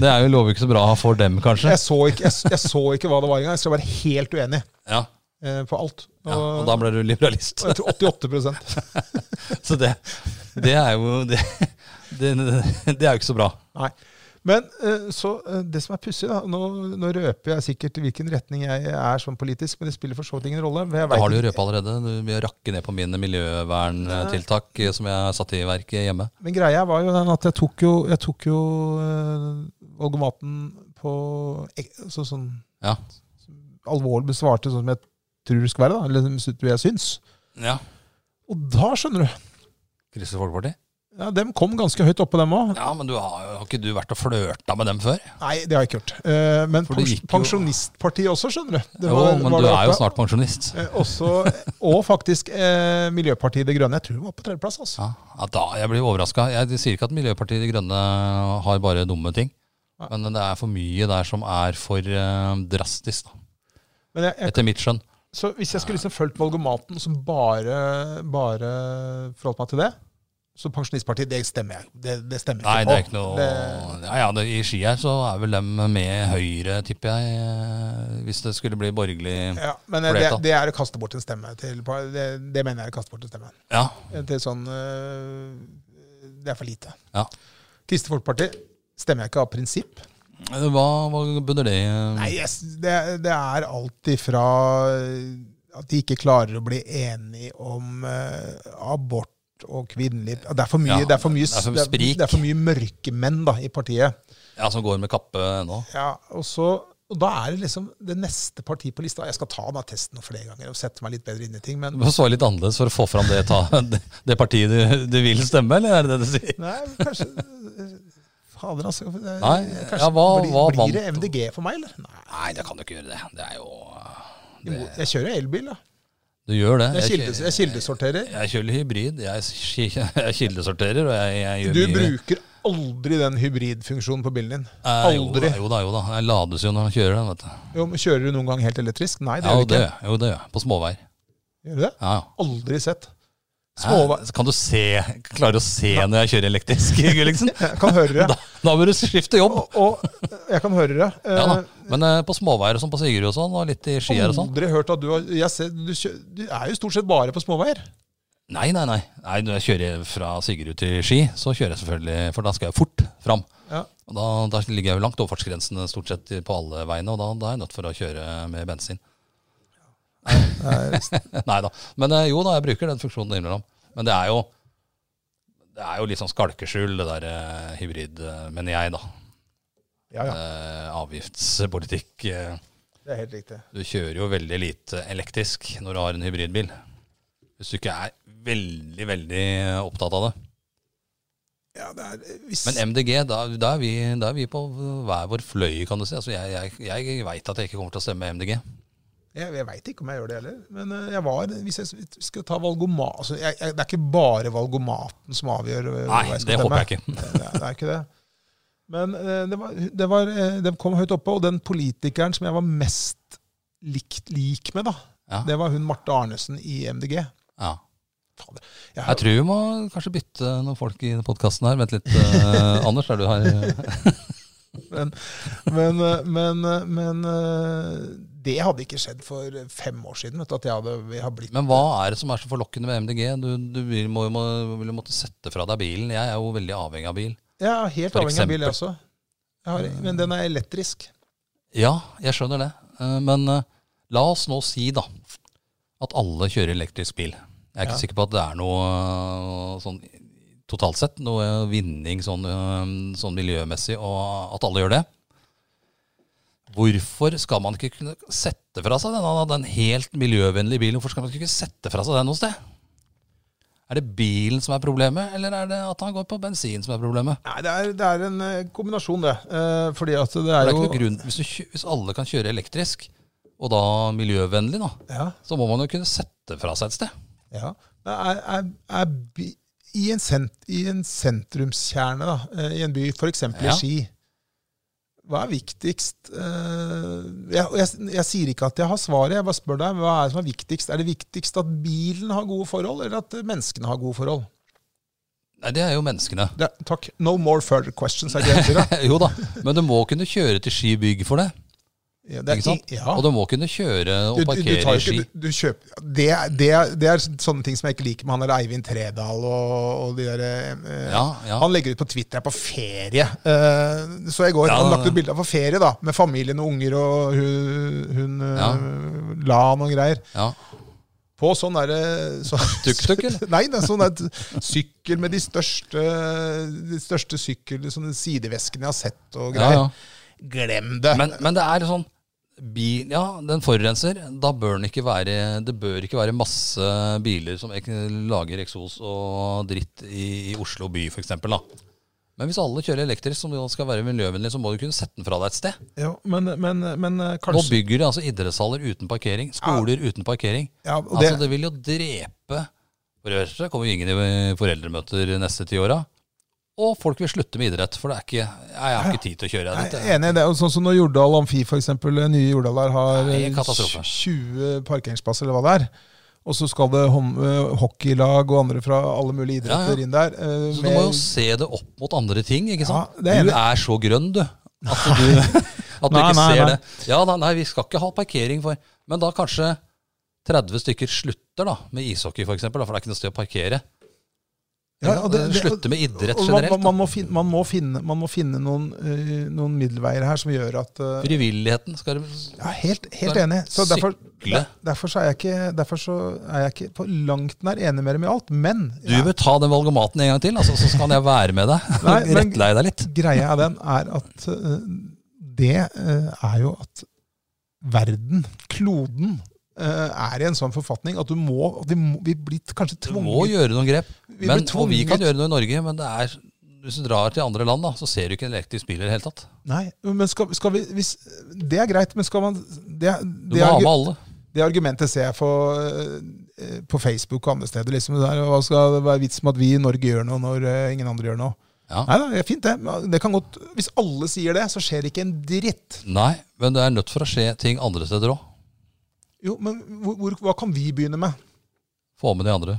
det er jo lover ikke så bra for dem, kanskje. Jeg, så ikke, jeg, jeg så ikke hva det var engang. Jeg skal være helt uenig Ja, eh, på alt. ja Og da ble du liberalist. og jeg tror 88 Så det, det er jo det, det, det er jo ikke så bra. Nei. Men eh, så eh, det som er pussig, da nå, nå røper jeg sikkert i hvilken retning jeg er sånn politisk, men det spiller for så vidt ingen rolle. men jeg Da vet har du jo ikke- røpet allerede. Du vil rakke ned på mine miljøverntiltak eh, som jeg satte i verk hjemme. Men greia var jo den at jeg tok jo, jeg tok jo eh, valgomaten på eh, så, sånn Ja. alvorlig besvarte, sånn som jeg tror det skal være, da, eller som jeg tror jeg syns. ja. Og da, skjønner du Kristelig Folkeparti? ja, Dem kom ganske høyt oppe, dem òg. Ja, men du har, har ikke du vært og flørta med dem før? Nei, det har jeg ikke gjort. Eh, men For det pens- gikk jo- Pensjonistpartiet også, skjønner du. Det Jo, var- men var du der er jo oppe. snart pensjonist. Eh, også, og faktisk eh, Miljøpartiet De Grønne. Jeg tror de var på tredjeplass. altså. Ja, ja, da, jeg blir overraska. Jeg de sier ikke at Miljøpartiet De Grønne har bare dumme ting. Nei. Men det er for mye der som er for eh, drastisk, da. Men jeg, jeg, etter mitt skjønn. så hvis jeg skulle liksom fulgt valgomaten som bare, bare forholdt meg til det, så Pensjonistpartiet, det stemmer jeg. Det, det stemmer Nei, jeg det er på. ikke noe Det- Ja, ja, det, I Ski her så er vel dem med Høyre, tipper jeg. eh, Hvis det skulle bli borgerlig ja, men eh, det, Flertall. det er å kaste bort en stemme til par- Det, det mener jeg er å kaste bort en stemme. Ja. Eh, Til sånn eh, Det er for lite. ja. Kristelig Folkeparti stemmer jeg ikke av prinsipp. Hva, hva bunner det i? Nei, jeg s- det, det er alt ifra eh, at de ikke klarer å bli enige om eh, abort og kvinnelig Det er for mye, Ja, det er for mye, det er for s- det er, sprik. det er for mye mørkemenn da, i partiet. Ja, Som går med kappe ennå? Ja, og så, og Og da er det liksom det neste partiet på lista. Jeg skal ta den av testen noen flere ganger og sette meg litt bedre inn i ting, Du men må svare litt annerledes for å få fram det, ta, det, det partiet du, du vil stemme, eller er det det du sier? nei, kanskje eh, Fader, altså. det- Nei, kanskje ja, hva- blir, hva blir det MDG for meg, eller? Nei, Nei, det kan du ikke gjøre det. Det er jo imot- jeg kjører elbil, da. Du gjør det. Jeg, kildes, jeg kildesorterer. Jeg kjører hybrid. Jeg, ki- jeg kildesorterer, og jeg, jeg gjør Du mye. bruker aldri den hybridfunksjonen på bilen din. Eh, jo Aldri. da, Jo da, jo da. Jeg lades jo når jeg kjører den, vet du. Jo, men Kjører du noen gang helt elektrisk? Nei, det Ja, gjør jo, du det ikke. gjør jeg. jo, det gjør jeg. På småveier. Gjør du det? Ja, ja. Aldri sett. Småvei- Hæ? Kan du se, klare å se når jeg kjører elektrisk, Gulliksen? Jeg kan høre det. Da, da bør du skifte jobb. Og, og jeg kan høre det. Eh, Ja da. Men eh, på småveier og sånn, på Sigurd og sånn, og litt i skier og sånn. Aldri hørt at du har jeg ser, du, kjø, du er jo stort sett bare på småveier. Nei, nei, nei. nei når jeg kjører fra Sigurd til Ski, så kjører jeg selvfølgelig, for da skal jeg fort fram. Ja. Og da, da ligger jeg jo langt overfartsgrensene stort sett på alle veiene, og da, da er jeg nødt for å kjøre med bensin. Nei da. Men eh, jo da, jeg bruker den funksjonen innimellom. Men det er jo det er jo litt sånn skalkeskjul, det der eh, hybrid, eh, mener jeg, da. ja, ja. Eh, avgiftspolitikk. eh. Det er helt riktig. Du kjører jo veldig lite elektrisk når du har en hybridbil. Hvis du ikke er veldig, veldig opptatt av det. Ja, det er, hvis, Men MDG, da, da, er, vi, da er vi på hver vår fløy, kan du si. Altså, jeg jeg, jeg veit at jeg ikke kommer til å stemme MDG. jeg jeg veit ikke om jeg gjør det heller. Men eh, jeg var, hvis jeg skal ta valgomat altså, jeg, jeg, Det er ikke bare valgomaten som avgjør eh, Nei, hva det jeg skal håper jeg stemme. ikke. Det, det er ikke det. Men eh, det, var, det, var, eh, det kom høyt oppe, og den politikeren som jeg var mest likt, lik med, da, Ja. det var hun Marte Arnesen i MDG. Ja. Fader. Jeg, Jeg tror vi må kanskje bytte noen folk i podkasten her. Vent litt, eh, Anders. Er du her? Men, men, eh, men, men eh, det hadde ikke skjedd for fem år siden. Vet du, at jeg hadde, vi har blitt Men hva er det som er så forlokkende med MDG? Du, du vil- må jo må- vil jo måtte sette fra deg bilen. Jeg er jo veldig avhengig av bil. Jeg er helt For avhengig av bil, eksempel. Mm. jeg også. Jeg har, men den er elektrisk. Ja, jeg skjønner det. Eh, Men eh, la oss nå si, da, at alle kjører elektrisk bil. Jeg er ikke Ja. sikker på at det er noe eh, sånn totalt sett, noe eh, vinning sånn, eh, sånn miljømessig, og at alle gjør det. Hvorfor skal man ikke kunne sette fra seg den, den helt miljøvennlige bilen? Hvorfor skal man ikke kunne sette fra seg den noe sted? Er det bilen som er problemet, eller er det at han går på bensin som er problemet? Nei, det er, det er en eh, kombinasjon, det. Eh, fordi at det For er det er jo ikke noe grunn, hvis, du, kjø- hvis alle kan kjøre elektrisk, og da miljøvennlig, da, ja, så må man jo kunne sette fra seg et sted. ja. Det er, er, er by, i, en sent, I en sentrumskjerne, da, eh, i en by, f.eks. Ja. i Ski, hva er viktigst? Eh, jeg, jeg, jeg sier ikke at jeg har svaret, jeg bare spør deg hva er det som er viktigst. Er det viktigst at bilen har gode forhold, eller at eh, menneskene har gode forhold? Nei, det er jo menneskene. Det, takk. No more further questions. Er greit, Tyra. jo da, men du må kunne kjøre til Ski bygg for det. ja, det er Ikke sant? i- Ja. Og du må kunne kjøre og Du- du- du tar parkere i jo Ski. ikke- du- du kjøper- Det, er- det, er- det er sånne ting som jeg ikke liker med han der Eivind Tredal og, og de der eh, Ja, ja. Han legger ut på Twitter jeg er på ferie. Eh, så i går Ja, han ja, lagt ut bilde av på ferie da, med familien og unger og hun, hun eh, Ja. la noen greier. ja. På sånn derre så, Tuk-tuk, eller? Nei, det er sånn der sykkel med de største, de største sykkel, sånne sideveskene jeg har sett ja, og greier. ja. Glem det! Men, men det er sånn Bil, ja, den forurenser. Da bør den ikke være Det bør ikke være masse biler som ek lager eksos og dritt i, i Oslo by, f.eks. Men hvis alle kjører elektrisk, som jo skal være miljøvennlig, så må du kunne sette den fra deg et sted. ja, men, men, men eh, Nå kanskje bygger de altså idrettshaller uten parkering, skoler uten parkering. ja, og Altså, det vil jo drepe For det første kommer jo ingen i foreldremøter neste ti åra. Og folk vil slutte med idrett, for det er ikke, jeg har ikke tid til å kjøre Nei, dette. jeg er enig i det. Og Sånn som når Jordal Amfi, for eksempel, eh, nye Jordal der har Nei, eh, katastrofe. 20 parkeringsplasser, eller hva det er. Og så skal det hom- eh, hockeylag og andre fra alle mulige idretter Ja, ja. inn der. eh, Så du med- må jo se det opp mot andre ting, ikke sant? Ja, det du er enig. er så grønn, du. At du, at du Nei, ikke nei, ser nei. det. Ja, nei, nei, vi skal ikke ha parkering for Men da kanskje 30 stykker slutter da, med ishockey, for eksempel, da, for det er ikke noe sted å parkere. Ja, og det- det- Slutte med idrett og generelt. Man, man, må finne, man, må finne, man må finne noen, eh, noen middelveier her som gjør at eh, Frivilligheten skal du Ja, helt, helt Skal enig. Så derfor, sykle. derfor, så er jeg ikke, derfor så er jeg ikke på langt nær enig med dem i alt. Men Du bør ta den valgomaten en gang til, altså, så kan jeg være med deg. Nei, men- Rettlei deg litt. Greia er den er at eh, det eh, er jo at verden, kloden, eh, er i en sånn forfatning at du må, at vi, må vi blir kanskje Du må tvunget gjøre noen grep. vi men, blir og vi kan tvunget- gjøre noe i Norge, men det er, hvis du drar til andre land, da, så ser du ikke en elektrisk bil i det hele tatt. Nei, men skal, skal vi hvis, Det er greit, men skal man Det, Du må det, ha argu- med alle. det argumentet ser jeg på, eh, på Facebook og andre steder. Liksom, det er, hva skal det være vits med at vi i Norge gjør noe når eh, ingen andre gjør noe? Ja. Nei da, det er fint, det. men det kan godt, hvis alle sier det, så skjer det ikke en dritt. Nei, men det er nødt for å skje ting andre steder òg. Jo, men hvor, hvor, hva kan vi begynne med? Få med de andre.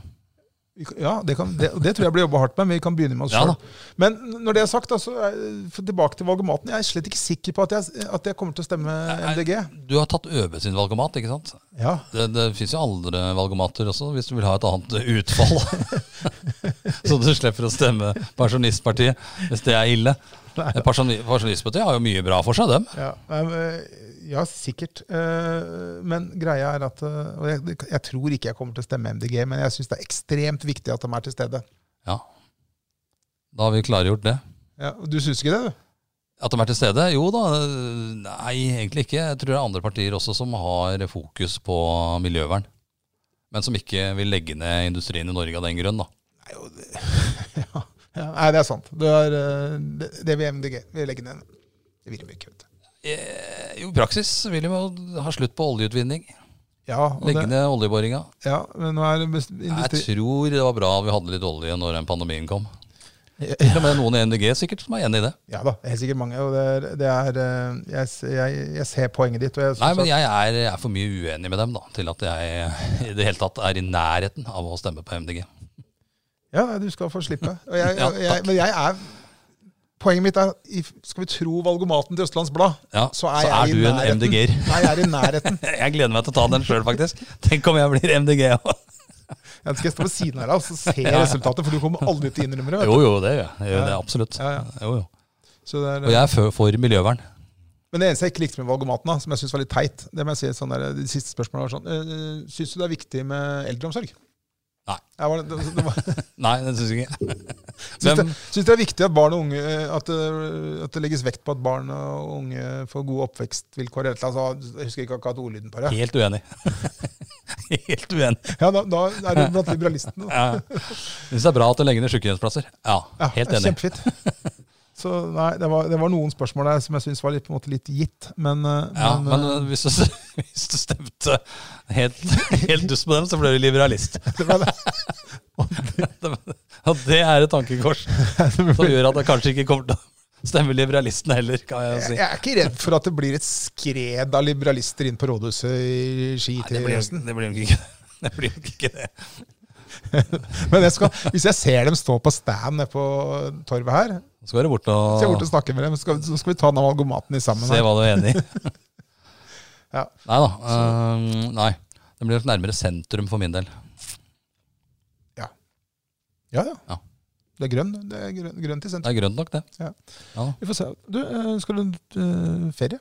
Vi kan- Ja, det, kan, det, det tror jeg blir jobba hardt med, men vi kan begynne med oss Ja sjøl. da. Men når det er sagt, da, så er- for tilbake til valgomaten. Jeg er slett ikke sikker på at jeg, at jeg kommer til å stemme Nei, MDG. Du har tatt ØB sin valgomat, ikke sant? Ja, Det, det fins jo andre valgomater også, hvis du vil ha et annet utfall. så du slipper å stemme Pensjonistpartiet, hvis det er ille. Nei. Pensjoni- Pensjonistpartiet har jo mye bra for seg, dem. ja, nei, men, ja sikkert. Eh, Men greia er at eh, Og jeg, jeg tror ikke jeg kommer til å stemme MDG, men jeg syns det er ekstremt viktig at de er til stede. Ja. Da har vi klargjort det. Ja, og du syns ikke det, du? At de er til stede? Jo da, nei, egentlig ikke. Jeg tror det er andre partier også som har fokus på miljøvern. Men som ikke vil legge ned industrien i Norge av den grunn. da. Nei, jo, det, ja, ja, nei, det er sant. Det, er, eh, det, det vil MDG. Vi legger ned. Det vil de ikke, vet du. Eh, Jo, I praksis vil de jo ha slutt på oljeutvinning. Ja, og Legge det, ned oljeboringa. ja, men nå er det best- Jeg industri... tror det var bra vi hadde litt olje når den pandemien kom. Til og med noen i MDG sikkert som er enig i det. Ja da, helt sikkert mange. Og det er, det er eh, jeg, s- jeg, jeg ser poenget ditt. Og jeg, Nei, men jeg, jeg er, jeg er for mye uenig med dem da, til at jeg i det hele tatt er i nærheten av å stemme på MDG. ja, nei, du skal få slippe. Og jeg, Ja, jeg, jeg, men jeg er Poenget mitt er i- skal vi tro valgomaten til Østlands Blad, Ja, så er så jeg er i du en nærheten. MDG-er. Nei, jeg er i nærheten. Jeg gleder meg til å ta den sjøl, faktisk. Tenk om jeg blir MDG òg. Jeg skal stå ved siden av deg og så se Ja. resultatet, for du kommer aldri til å innrømme det. vet du. Jo, jo, det gjør jeg. jeg. Gjør det, Ja. absolutt. Ja, ja. Jo, jo. Så det er, Og jeg er for, for miljøvern. Men det eneste jeg ikke likte med valgomaten, da, som jeg syns var litt teit det må jeg si, sånn der, De siste spørsmålene var sånn øh, Syns du det er viktig med eldreomsorg? Nei. Jeg var, det, det var, Nei, det syns jeg ikke. syns, det, Hvem, syns det er viktig at barn og unge øh, at, øh, at det legges vekt på at barn og unge får gode oppvekstvilkår? Eller, et eller annet sånt? Altså, jeg husker ikke akkurat ordlyden på det. helt uenig. Helt uenig. Ja, da, da er du blant liberalistene. da. Ja. Syns det er bra at det legger ned sykehjemsplasser. Ja, Ja, helt enig. Kjempefint. Så nei, det var, det var noen spørsmål der som jeg syns var litt, på en måte litt gitt, men, øh, Ja, men, men eh, øh, hvis du, hvis du stemte helt, helt dust på dem, så ble du liberalist. det var det. Og det er et tankekors som gjør at jeg kanskje ikke kommer til å stemme liberalistene heller, kan jeg jo Jeg si. jeg er ikke redd for at det blir et skred av liberalister inn på rådhuset i ski Nei, til det blir jo- høsten. det blir jo ikke det. Det blir jo ikke det. Men jeg skal, hvis jeg ser dem stå på stand nede på torvet her, Så skal du bort så skal jeg bort og og snakke med dem. Så skal, så skal vi ta den amalgomaten i sammen. se Her. hva du er enig i. Ja. Nei da. øhm, nei. Det blir nok nærmere sentrum for min del. Ja, ja. Ja. Det er grønn, det er grønn, grønt i Det sentrum. er grønt nok, det. Vi får se. Du, eh, skal du eh, ferie?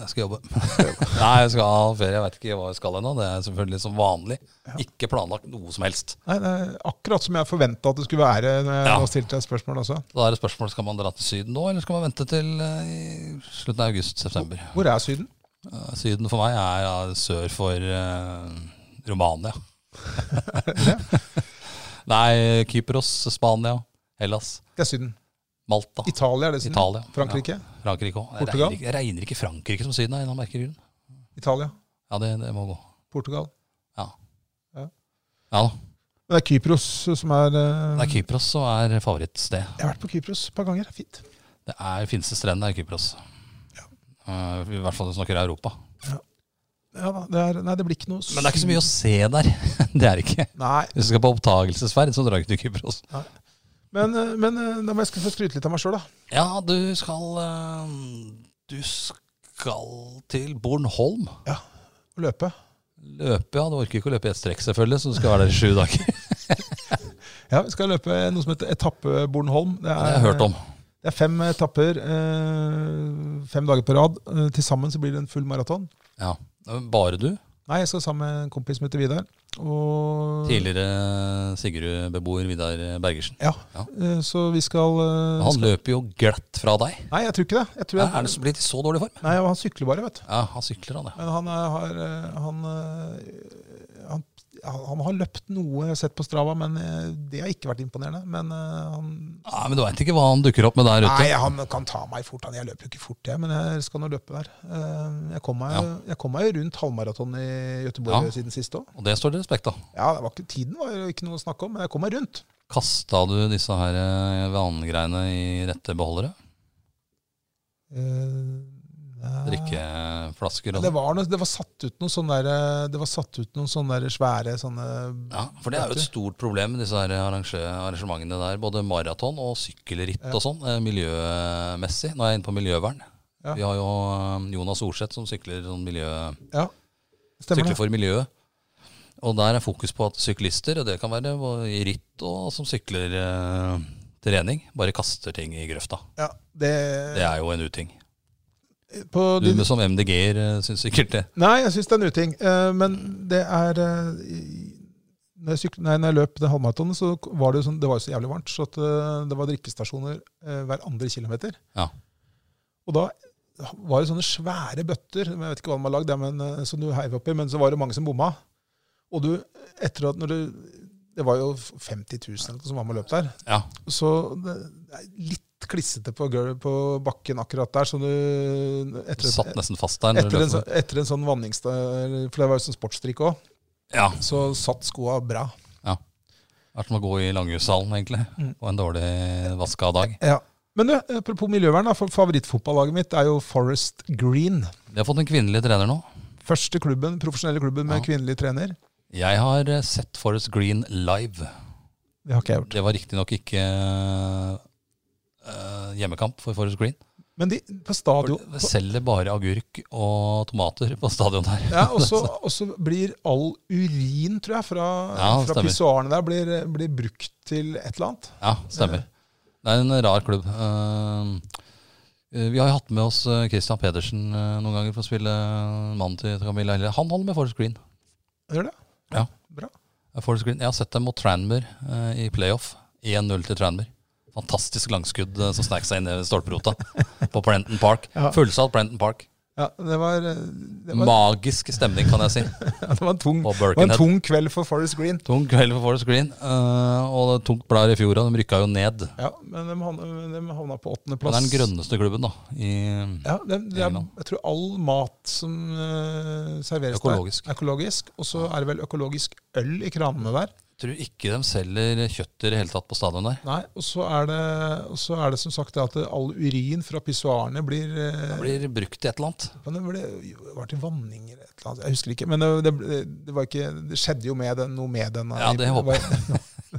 Jeg skal jobbe. nei, jeg skal ha ferie. Jeg veit ikke hva jeg skal ennå. Det er selvfølgelig som vanlig. Ikke planlagt noe som helst. Nei, det er akkurat som jeg forventa at det skulle være når jeg Ja. nå stilte deg spørsmål også. Da er det spørsmål skal man dra til Syden nå, eller skal man vente til øh, i slutten av august-september. Hvor er Syden? syden for meg er ja, sør for øh, Romania. nei, Kypros, Spania, Hellas, Det er Syden. Malta, Italia er det Syden. Italia. Frankrike? Ja, Frankrike òg. Jeg, Portugal? regner ikke- jeg regner ikke Frankrike som Syden. av en eller annen merkelig grunn. Italia? Ja, det, det må gå. Portugal? Ja da. Men det er Kypros som er eh, Det er Kypros som er favorittsted. Jeg har vært på Kypros et par ganger. Fint. Det er fineste strendene er Kypros. Eh, I hvert fall når du snakker Europa. Ja da, det er, nei, det blir ikke noe Men det er ikke så mye å se der. det er det ikke. Nei, Hvis du skal på oppdagelsesferd, så drar du ikke til Kypros. men, eh, men eh, da må jeg sk- få skryte litt av meg sjøl, da. Ja, du skal eh, Du skal til Bornholm. Å løpe. Løpe, ja. Du orker ikke å løpe i ett strekk, selvfølgelig, så du skal være der i sju dager. Ja, vi skal løpe noe som heter Etappe Bornholm. Det Det har jeg hørt om. Det er fem etapper, eh, fem dager på rad. Eh, Til sammen så blir det en full maraton. Ja. Bare du? Nei, jeg skal sammen med en kompis som heter Vidar. Og Tidligere Sigrud-beboer Vidar Bergersen. Ja. Ja. eh, Så vi skal eh, Han løper jo glatt fra deg. Nei, jeg tror ikke det. Jeg tror Ja, jeg, er det så blitt i så dårlig form? Nei, Han sykler bare, vet du. Ja, han sykler, han, ja. Men han er, har eh, han, eh, han, han har løpt noe jeg har sett på Strava, men eh, det har ikke vært imponerende. Men eh, han ja. Men du veit ikke hva han dukker opp med der ute. Nei, han kan ta meg fort. Han. Jeg løper jo ikke fort, jeg, men jeg skal nå løpe der. Eh, Jeg kom meg, jeg kom meg jo rundt halvmaraton i Gøteborg Ja. siden sist òg. Og det står det respekt av. Ja, det var ikke, tiden var jo ikke noe å snakke om, men jeg kom meg rundt. Kasta du disse her eh, vannegreiene i rette beholdere? Eh, nei. Drikkeflasker og Det var, noe, det var satt ut noen sånne, der, eh, det var satt ut noen sånne der svære sånne Ja, for det er jo et stort problem med disse her arrange- arrangementene der. Både maraton og sykkelritt Ja. og sånn, eh, miljømessig. Nå er jeg inne på miljøvern. Ja. Vi har jo eh, Jonas Orseth som sykler, sånn miljø, Ja, stemmer sykler det. for miljøet. Og der er fokus på at syklister, og det kan være hvor- i ritt og som sykler eh, trening, bare kaster ting i grøfta. Ja, det, Det er jo en uting. på Du din, som MDG-er eh, syns sikkert det. nei, jeg syns det er en uting. eh, Men det er eh, i- når jeg, syk, nei, når jeg løp det halvmaratonet, så var det jo sånn, det var jo så jævlig varmt, så at eh, det var drikkestasjoner eh, hver andre kilometer. Ja. Og da var det sånne svære bøtter, men jeg vet ikke hva de har lagd, ja, men, eh, som du heiv oppi, men så var det mange som bomma. Og du, etter at når du Det var jo 50 000 eller noe som var med og løp der. Ja. Så det er litt klissete på, gulvet på bakken akkurat der, så du Du etter, satt nesten fast der. når du etter, en, løp. sånn- etter en sånn vanningsta, for det var jo sånn sportsdrikk òg, Ja. så satt skoa bra. Det er som å gå i langhussalen, egentlig, Mm. på en dårlig eh, vaska dag. Ja. Men du, apropos miljøvern, da, for favorittfotballaget mitt er jo Forest Green. De har fått en kvinnelig trener nå. Første klubben, profesjonelle klubben med Ja. kvinnelig trener. Jeg har eh, sett Forest Green live. Det har ikke jeg gjort. Det var riktignok ikke eh, hjemmekamp for Forest Green. Men de, på For stadion Det selger bare agurk og tomater på stadion her. Ja, og så og så blir all urin, tror jeg, fra, Ja, fra stemmer. pissoarene der, blir, blir brukt til et eller annet. Ja, stemmer. Det er en rar klubb. Eh, eh, vi har jo hatt med oss eh, Christian Pedersen eh, noen ganger for å spille mannen til Camilla Helle. Han holder med Forest Green. Gjør det? Ja. Bra. Eh, Forest Green. Jeg har sett dem mot Tranmere eh, i playoff. 1-0 til Tranmere. Fantastisk langskudd eh, som snek seg inn i stolperota på Prenton Park. Ja. Fullsatt Prenton Park. Ja, det var, det var, Magisk stemning, kan jeg si, ja, det var, en, tung, på det var en Birkenhead. tung kveld for Forest Green. Tung kveld for Forest Green, eh, og det er tungt blær i fjor, og de rykka jo ned. Ja, men de havna, de havna Men på åttendeplass. det er den grønneste klubben, da. I Ja, det, det er, England. jeg tror all mat som eh, serveres Økologisk. der, er økologisk. Og så er det vel økologisk øl i kranene der. tror ikke de selger kjøtt i det hele tatt på stadion der. Nei, Og så er det, og så er det som sagt det at all urin fra pissoarene blir, eh, Det blir brukt til et eller annet. Men det ble, det var til vanning eller et eller annet. Jeg husker ikke. Men det, det, det, var ikke, det skjedde jo med den, noe med den. Ja, det håper jeg.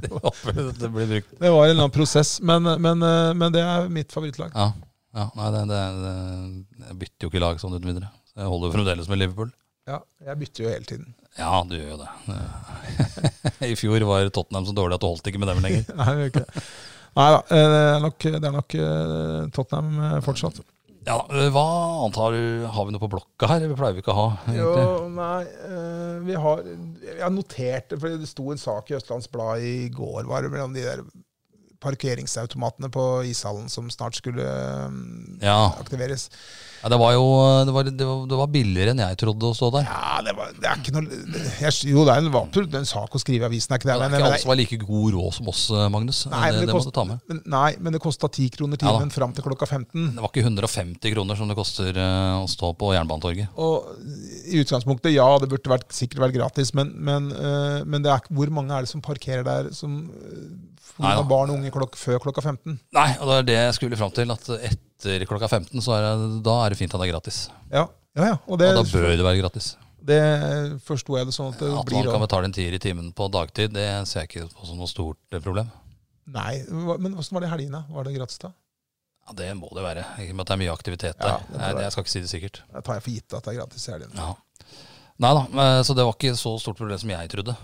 Det håper jeg det blir brukt. Det var en eller annen prosess. Men, men, eh, men det er mitt favorittlag. Ja, ja nei, det, det, det, jeg bytter jo ikke lag sånn uten videre. Så Jeg holder jo fremdeles med Liverpool. Ja, jeg bytter jo hele tiden. Ja, du gjør jo det. I fjor var Tottenham så dårlig at du holdt ikke med dem lenger. Nei, det gjør ikke det. Nei da, eh, det er nok, det er nok eh, Tottenham eh, fortsatt. Ja, da, Hva annet har du? Har vi noe på blokka her? Vi pleier vi ikke å ha. Jo, egentlig. nei, eh, vi har Jeg har notert det, for det sto en sak i Østlands Blad i går var det vel, om de der parkeringsautomatene på ishallen som snart skulle eh, Ja, aktiveres. ja, det var jo det var, det, var, det var billigere enn jeg trodde å stå der. Ja, det, var, det er ikke noe jeg, Jo, det er en, det var absolutt en sak å skrive i avisen, er ikke det? Det er Men, ikke alle men, som var like god råd som oss, eh, Magnus. Nei, det, men det det må du kost- ta med. men, nei, men det kosta ti kroner Ja da. timen fram til klokka 15. Det var ikke 150 kroner som det koster eh, å stå på Jernbanetorget. Og i utgangspunktet, ja, det burde vært, sikkert vært gratis, men, men, øh, men det er, ikke- hvor mange er det som parkerer der som Nei da. har barn og unge klok, før klokka 15? Nei, og det er det jeg skulle fram til. At etter klokka 15, så er det, da er det fint at det er gratis. Ja, ja. ja. Og det, og da bør det være gratis. det forsto jeg det sånn at det At man blir kan også. betale en tier i timen på dagtid, det ser jeg ikke på som noe stort eh, problem. Nei, hva- men åssen var det i helgene? Var det gratis da? Ja, Det må det være, i og med at det er mye aktivitet Ja, der. det Nei, må det det- være. jeg skal ikke si det sikkert. Da tar jeg for gitt at det er gratis i helgene. Ja. Nei da, men- eh, så det var ikke så stort problem som jeg trodde.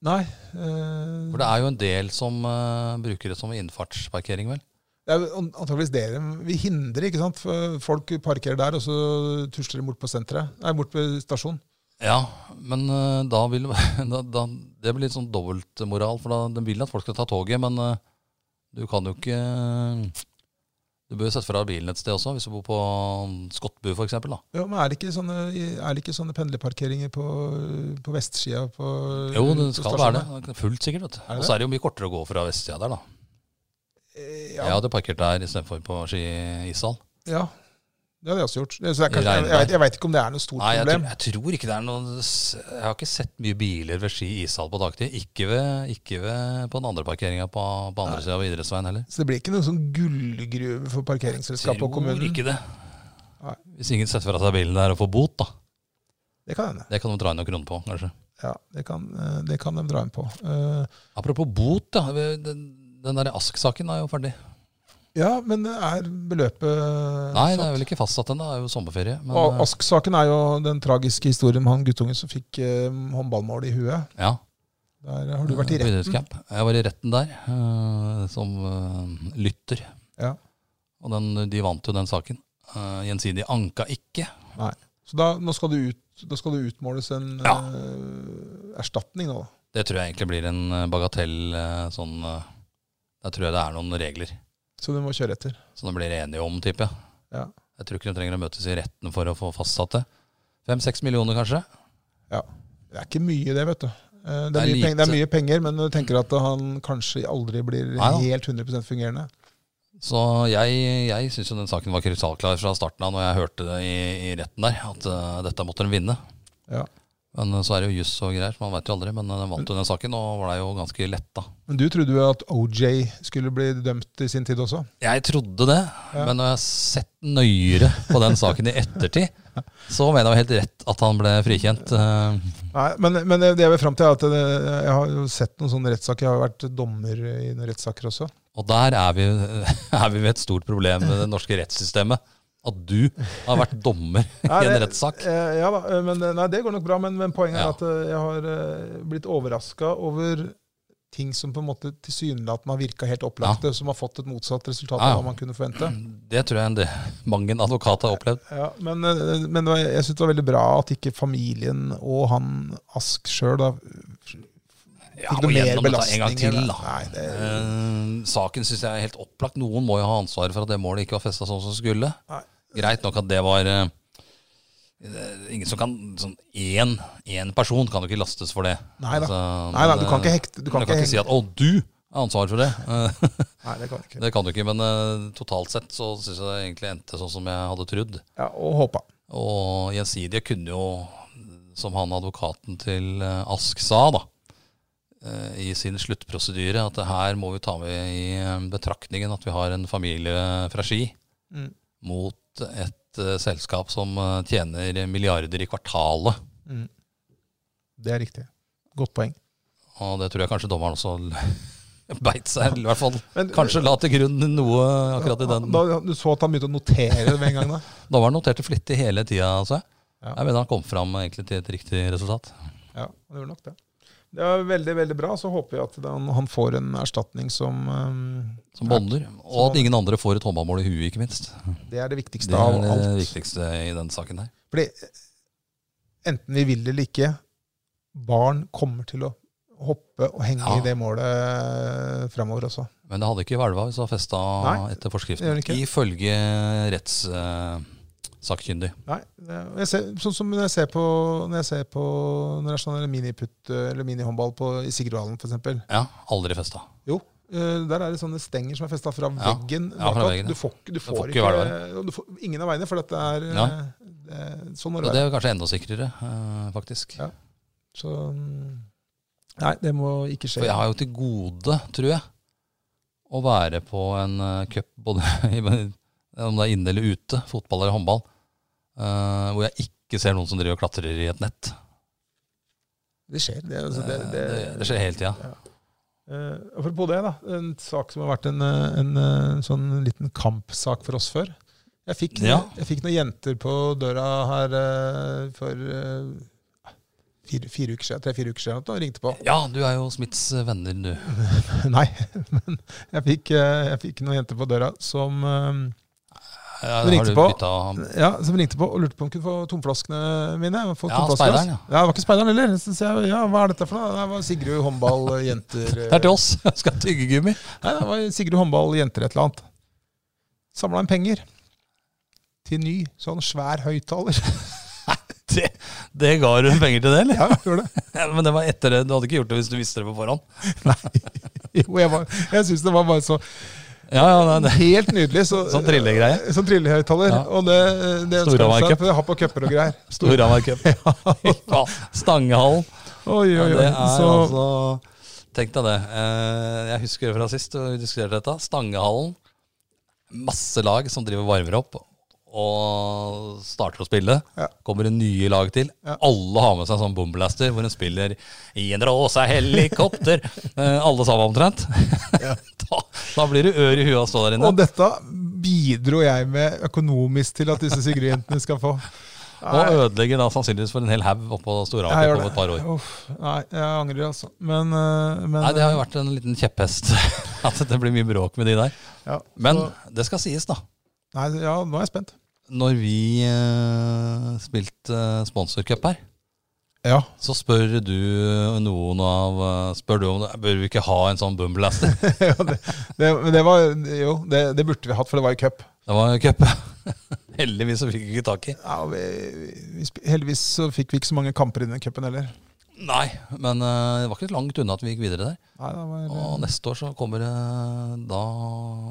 Nei. øh, For det er jo en del som eh, bruker det som innfartsparkering, vel. Det er jo antageligvis det de vil hindre. ikke sant? For Folk parkerer der, og så tusler de bort på senteret. Nei, bort på stasjonen. Ja, men eh, da vil da, da, Det blir litt sånn dobbeltmoral, for da, den vil at folk skal ta toget, men eh, du kan jo ikke Du bør jo sette fra bilen et sted også, hvis du bor på um, Skottbu f.eks. Ja, men er det ikke sånne, er det ikke sånne pendlerparkeringer på, på vestsida? På, Jo, det Mm, på skal være stasjonene? det. Fullt sikkert. vet du. Er det Og så er det jo mye kortere å gå fra vestsida der, da. Eh, Jeg hadde parkert der istedenfor på Ski ishall. Ja, det hadde jeg også gjort. Så det er kanskje, regnet jeg, jeg, vet- jeg vet ikke om det er noe stort Nei, jeg, problem. tror- jeg tror ikke det er noe Jeg har ikke sett mye biler ved Ski ishall på dagtid. Ikke, ved, ikke ved, på den andre parkeringa på, på andre sida av idrettsveien heller. Så det blir ikke noen sånn gullgruve for parkeringsselskapet og kommunen? Tror ikke det. Nei. Hvis ingen setter fra seg bilen der og får bot, da. Det kan hende. Det kan de dra inn noen kroner på, kanskje. Ja, det kan, eh, det kan de dra inn på. Eh, Apropos bot, da. Den, den der Ask-saken er jo ferdig. Ja, men er beløpet Nei, satt? det er vel ikke fastsatt ennå. Det er jo sommerferie. Men, eh, Og Ask-saken er jo den tragiske historien om han guttungen som fikk eh, håndballmål i huet. ja. Der har du vært i På retten. idrettscamp. Jeg var i retten der eh, som eh, lytter. Ja. Og den, de vant jo den saken. Eh, gjensidig anka ikke. Så da, nå skal du ut, da skal det utmåles en Ja. eh, erstatning nå, da. Det tror jeg egentlig blir en eh, bagatell eh, sånn eh, Der tror jeg det er noen regler Så du må kjøre etter. som de blir enige om, tipper jeg. Ja. Jeg tror ikke de trenger å møtes i retten for å få fastsatt det. Fem-seks millioner, kanskje? Det er ikke mye, det, vet du. Eh, Det Det er er, mye, penger, det er lite. mye penger, men du tenker at han kanskje aldri blir Nei da. helt 100 fungerende. Så jeg, jeg syns jo den saken var krystallklar fra starten av når jeg hørte det i, i retten der, at eh, dette måtte de vinne. Ja. Men eh, så er det jo juss og greier, man veit jo aldri. Men eh, de vant jo den saken og var da jo ganske letta. Men du trodde jo at OJ skulle bli dømt i sin tid også? Jeg trodde det, Ja. men når jeg har sett nøyere på den saken i ettertid, så mener jeg det var helt rett at han ble frikjent. eh, Nei, men, men det jeg vil fram til, er at det, jeg har jo sett noen sånne rettssaker. Jeg har jo vært dommer i noen rettssaker også. Og der er vi, er vi ved et stort problem med det norske rettssystemet. At du har vært dommer i Nei, en det- rettssak. Eh, ja da, eh, men eh, nei, det går nok bra. Men, men poenget Ja. er at eh, jeg har eh, blitt overraska over ting som på en måte tilsynelatende har virka helt opplagte, som har fått et motsatt resultat Ja, ja. av hva man kunne forvente. Det tror jeg en del, mange en advokat har opplevd. Ja, men, eh, men det var- jeg syns det var veldig bra at ikke familien og han Ask sjøl Ja, Fikk og du mer gjennom dette en gang belastning, til, eller? da. Nei, Eh, det- saken syns jeg er helt opplagt. Noen må jo ha ansvaret for at det målet ikke var festa sånn som skulle. Nei. Greit nok at det var eh, eh, Ingen som kan sånn én, én person kan jo ikke lastes for det. Nei da. Altså, Nei da, men, du kan eh, ikke hekte Du kan ikke, si hekte. at 'å, du har ansvar for det'. Eh, Nei, det kan du ikke. det kan du ikke. Men eh, totalt sett så syns jeg det egentlig endte sånn som jeg hadde trodd. Ja, og håpa. Og Gjensidige kunne jo, som han advokaten til eh, Ask sa, da, eh, i sin sluttprosedyre, at det her må vi ta med i eh, betraktningen at vi har en familie fra Ski Mm. mot et eh, selskap som eh, tjener milliarder i kvartalet. Mm. Det er riktig. Godt poeng. Og det tror jeg kanskje dommeren også l- beit seg, eller i hvert fall Men- kanskje la til grunn noe akkurat i den. Da, du så at han begynte å notere det med en gang? da Dommeren noterte flittig hele tida, altså. Ja. Jeg mener han kom fram egentlig til et riktig resultat. Ja, han gjorde nok det. Det er veldig veldig bra. Så håper vi at den, han får en erstatning som eh, Som bånder. Og at ingen andre får et håndballmål i huet, ikke minst. Det er det viktigste Det av er det alt. viktigste i den saken her. Fordi enten vi vil eller ikke, barn kommer til å hoppe og henge Ja. i det målet framover også. Men det hadde ikke hvelva hvis det var festa etter Nei, det gjør det forskriften. ikke. Ifølge eh, rettssakkyndig. Nei, det- jeg ser, sånn som når jeg ser på når jeg ser på når det er sånn miniputt eller minihåndball på, i Sigurdvalen f.eks. ja, aldri festa. Jo, eh, der er det sånne stenger som er festa fra Ja, veggen. ja, fra bak at veggen, ja. Du får, ikke- du får, får ikke ikke, hver du får, ingen av veiene, for at det er eh, Nei. det- sånn må Så det det være. er jo kanskje enda sikrere, eh, faktisk. Ja. Så, mm, nei, det må ikke skje. For jeg har jo til gode, tror jeg, å være på en eh, cup, både i- om det er inne eller ute, fotball eller håndball, eh, hvor jeg ikke ser noen som driver og klatrer i et nett. Det skjer. Det, altså, Eh, Det, det, det, det skjer hele tida. Eh, apropos det, da. En sak som har vært en, eh, en eh, sånn liten kampsak for oss før. Jeg fikk, Ja. jeg fikk noen jenter på døra her eh, for eh, fire, fire uker siden, tre-fire uker siden at de ringte på. Ja, du er jo Smiths venner, du. Nei, men jeg fikk, eh, jeg fikk noen jenter på døra som eh, Har Du du ringte på. bytta Ja, Som ringte på og lurte på om hun kunne få tomflaskene mine. Få Ja, tomflasker, speideren, altså. Ja, det var ikke speideren heller. Så sier jeg, ja, Hva er dette for noe? Det var Sigrud håndball jenter Det er til oss! Skal ha tyggegummi. Nei, det var Sigrud håndball jenter et eller annet. Samla inn penger. Til ny sånn svær høyttaler. Det, det ga du penger til det, eller? Ja, gjør det. Men det var etter det. Du hadde ikke gjort det hvis du visste det på forhånd. Jo, jeg, var- jeg syns det var bare så Ja, ja, nei, det, helt nydelig. Så, Sånn trillegreie. Sånn trillehøyttaler. Ja. Og det, det ønsker Storhamar de seg Cup. for å ha på cuper og greier. Stor- Storhamar Cup. Ja, Stangehallen. Oi, Ja, oi, det oi. er Så, altså Tenk deg det. Eh, Jeg husker fra sist vi diskuterte dette. Stangehallen. Masse lag som driver og varmer opp og starter å spille. Ja. Kommer det nye lag til. Ja. Alle har med seg sånn boomblaster hvor en spiller i en råsa helikopter. Eh, Alle sammen omtrent. da, da blir du ør i huet av å stå der inne. og dette bidro jeg med økonomisk til at disse Sigrud-jentene skal få. Og ødelegger da sannsynligvis for en hel haug oppå jeg Storhavet gjør om det. et par år. Uff, nei, jeg angrer, altså. Men, eh, men Nei, Det har jo vært en liten kjepphest at det blir mye bråk med de der. eh, ja, Men så, det skal sies, da. nei, ja, nå er jeg spent. Når vi eh, spilte eh, sponsorcup her, Ja. så spør du noen av eh, Spør du om det- Bør vi ikke ha en sånn boomblaster? ja det, det, men det var Jo, det, det burde vi hatt, for det var jo cup. Det var jo cup. Heldigvis så fikk vi ikke tak i. Ja, vi, vi, sp- heldigvis så fikk vi ikke så mange kamper i den cupen heller. Nei, men eh, det var ikke langt unna at vi gikk videre der. Nei, det var, eh, Og neste år så kommer det Da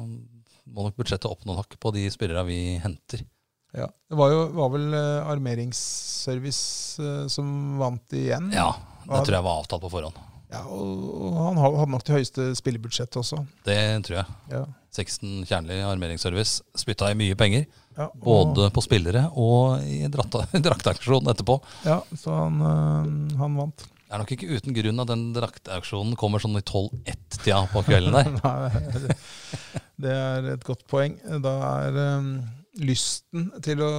må nok budsjettet opp noen hakk på de spillerne vi henter. Ja, Det var, jo, var vel eh, Armeringsservice eh, som vant igjen. Ja, det Ja. tror jeg var avtalt på forhånd. Ja, og, og han ha- hadde nok det høyeste spillebudsjettet også. Det tror jeg. Ja. 16 Kjernli armeringsservice spytta i mye penger. Ja, og, Både på spillere og i drakta- draktaksjonen etterpå. Ja, så han, eh, han vant. Det er nok ikke uten grunn at den drakteauksjonen kommer sånn i 12-1-tida på kvelden der. Nei, det- det er et godt poeng. Da er eh, lysten til å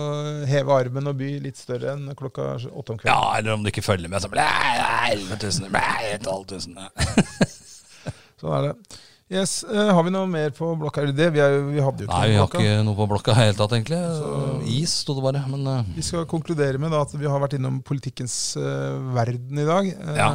heve armen og by litt større enn klokka åtte om kvelden. Ja, eller om du ikke følger med, så blæ, 11 000, blæ, 12 000. Sånn er det. Yes, eh, Har vi noe mer på blokka? Eller det? Vi, er, jo- vi hadde jo ikke Nei, vi noe har på blokka. ikke noe på blokka i det hele tatt, egentlig. Så- Is sto det bare, men eh, Vi skal konkludere med da, at vi har vært innom politikkens eh, verden i dag. Eh, Ja.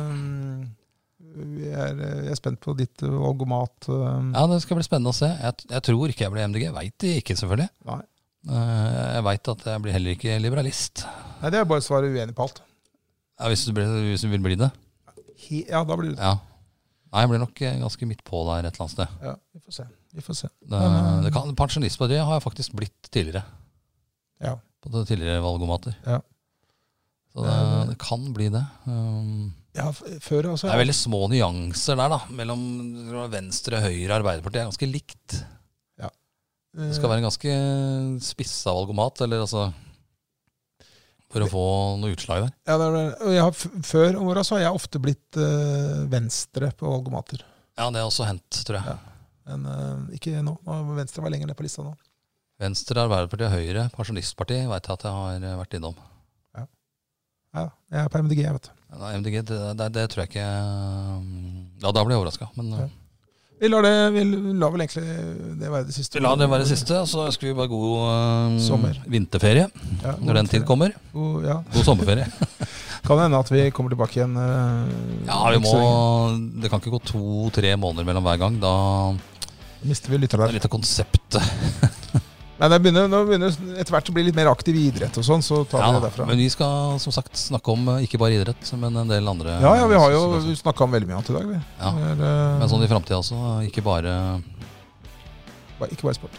vi er, eh, jeg er spent på ditt eh, valgomat. eh, ja, det skal bli spennende å se. Jeg, jeg tror ikke jeg blir MDG. Veit det ikke, selvfølgelig. Nei. Eh, Jeg veit at jeg blir heller ikke liberalist. Nei, det er bare å svare uenig på alt. Ja, hvis, du blir, hvis du vil bli det. He, ja, da blir det Ja. Nei, jeg blir nok eh, ganske midt på der et eller annet sted. ja, Vi får se. Vi får se. Det, Eh, Mm. det kan, pensjonistpartiet har jeg faktisk blitt tidligere. Ja. På det tidligere valgomater. Ja. Så det, det kan bli det. Um, Ja, f før også. det er veldig små nyanser der, da. Mellom Venstre, Høyre og Arbeiderpartiet. Det er ganske likt. Eh, Det skal være en ganske spissa valgomat, eller altså For å få noe utslag der. Ja, det er, vel- og jeg har, f- før om åra så har jeg ofte blitt eh, venstre på valgomater. Ja, det har også hendt, tror jeg. Ja. Men eh, ikke nå. Nå- Venstre var lenger ned på lista nå. Venstre, Arbeiderpartiet, Høyre, Pensjonistpartiet veit jeg at jeg har eh, vært innom. Ja, jeg er på MDG, jeg, vet du. Nei, MDG, det, det, det tror jeg ikke um, Ja, da blir jeg overraska, men Ja. uh, Vi lar, det, vi lar vel egentlig det være det siste. vi lar det være det siste. og Så ønsker vi bare god um, Sommer. vinterferie Ja, når den tid kommer. God- Ja, God sommerferie. Kan hende at vi kommer tilbake igjen. eh, Ja, vi ikke må, så lenge. Det kan ikke gå to-tre måneder mellom hver gang. Da mister vi lytter det der. er litt av konseptet. Men jeg begynner, nå begynner jeg etter hvert å bli litt mer aktiv i idrett og sånn, så tar Ja, vi det da. derfra. men vi skal som sagt snakke om eh, ikke bare idrett, men en del andre ja, ja, vi har saker jo også. snakka om veldig mye annet i dag, vi. Ja, Det er, eh, Men sånn i framtida også. Ikke bare, bare- Ikke bare sport.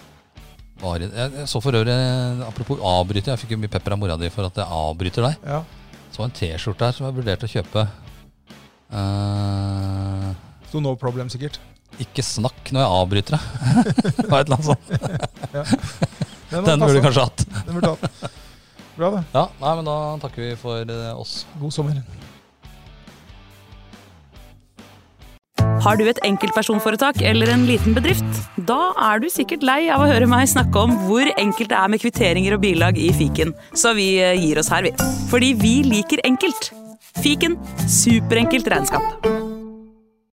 bare jeg, jeg så for øvrig Apropos avbryter. Jeg fikk jo mye pepper av mora di for at jeg avbryter deg. Ja. Så en T-skjorte her som jeg vurderte å kjøpe. Eh, Så no problem, sikkert. ikke snakk når jeg avbryter deg. Det var et eller annet sånt. Den burde var du passa. kanskje hatt. Den burde du hatt. Bra, det. Ja, nei, men da takker vi for eh, oss. God sommer. Har du et enkeltpersonforetak eller en liten bedrift? Da er du sikkert lei av å høre meg snakke om hvor enkelt det er med kvitteringer og bilag i fiken, så vi eh, gir oss her, vi. Fordi vi liker enkelt. Fiken superenkelt regnskap.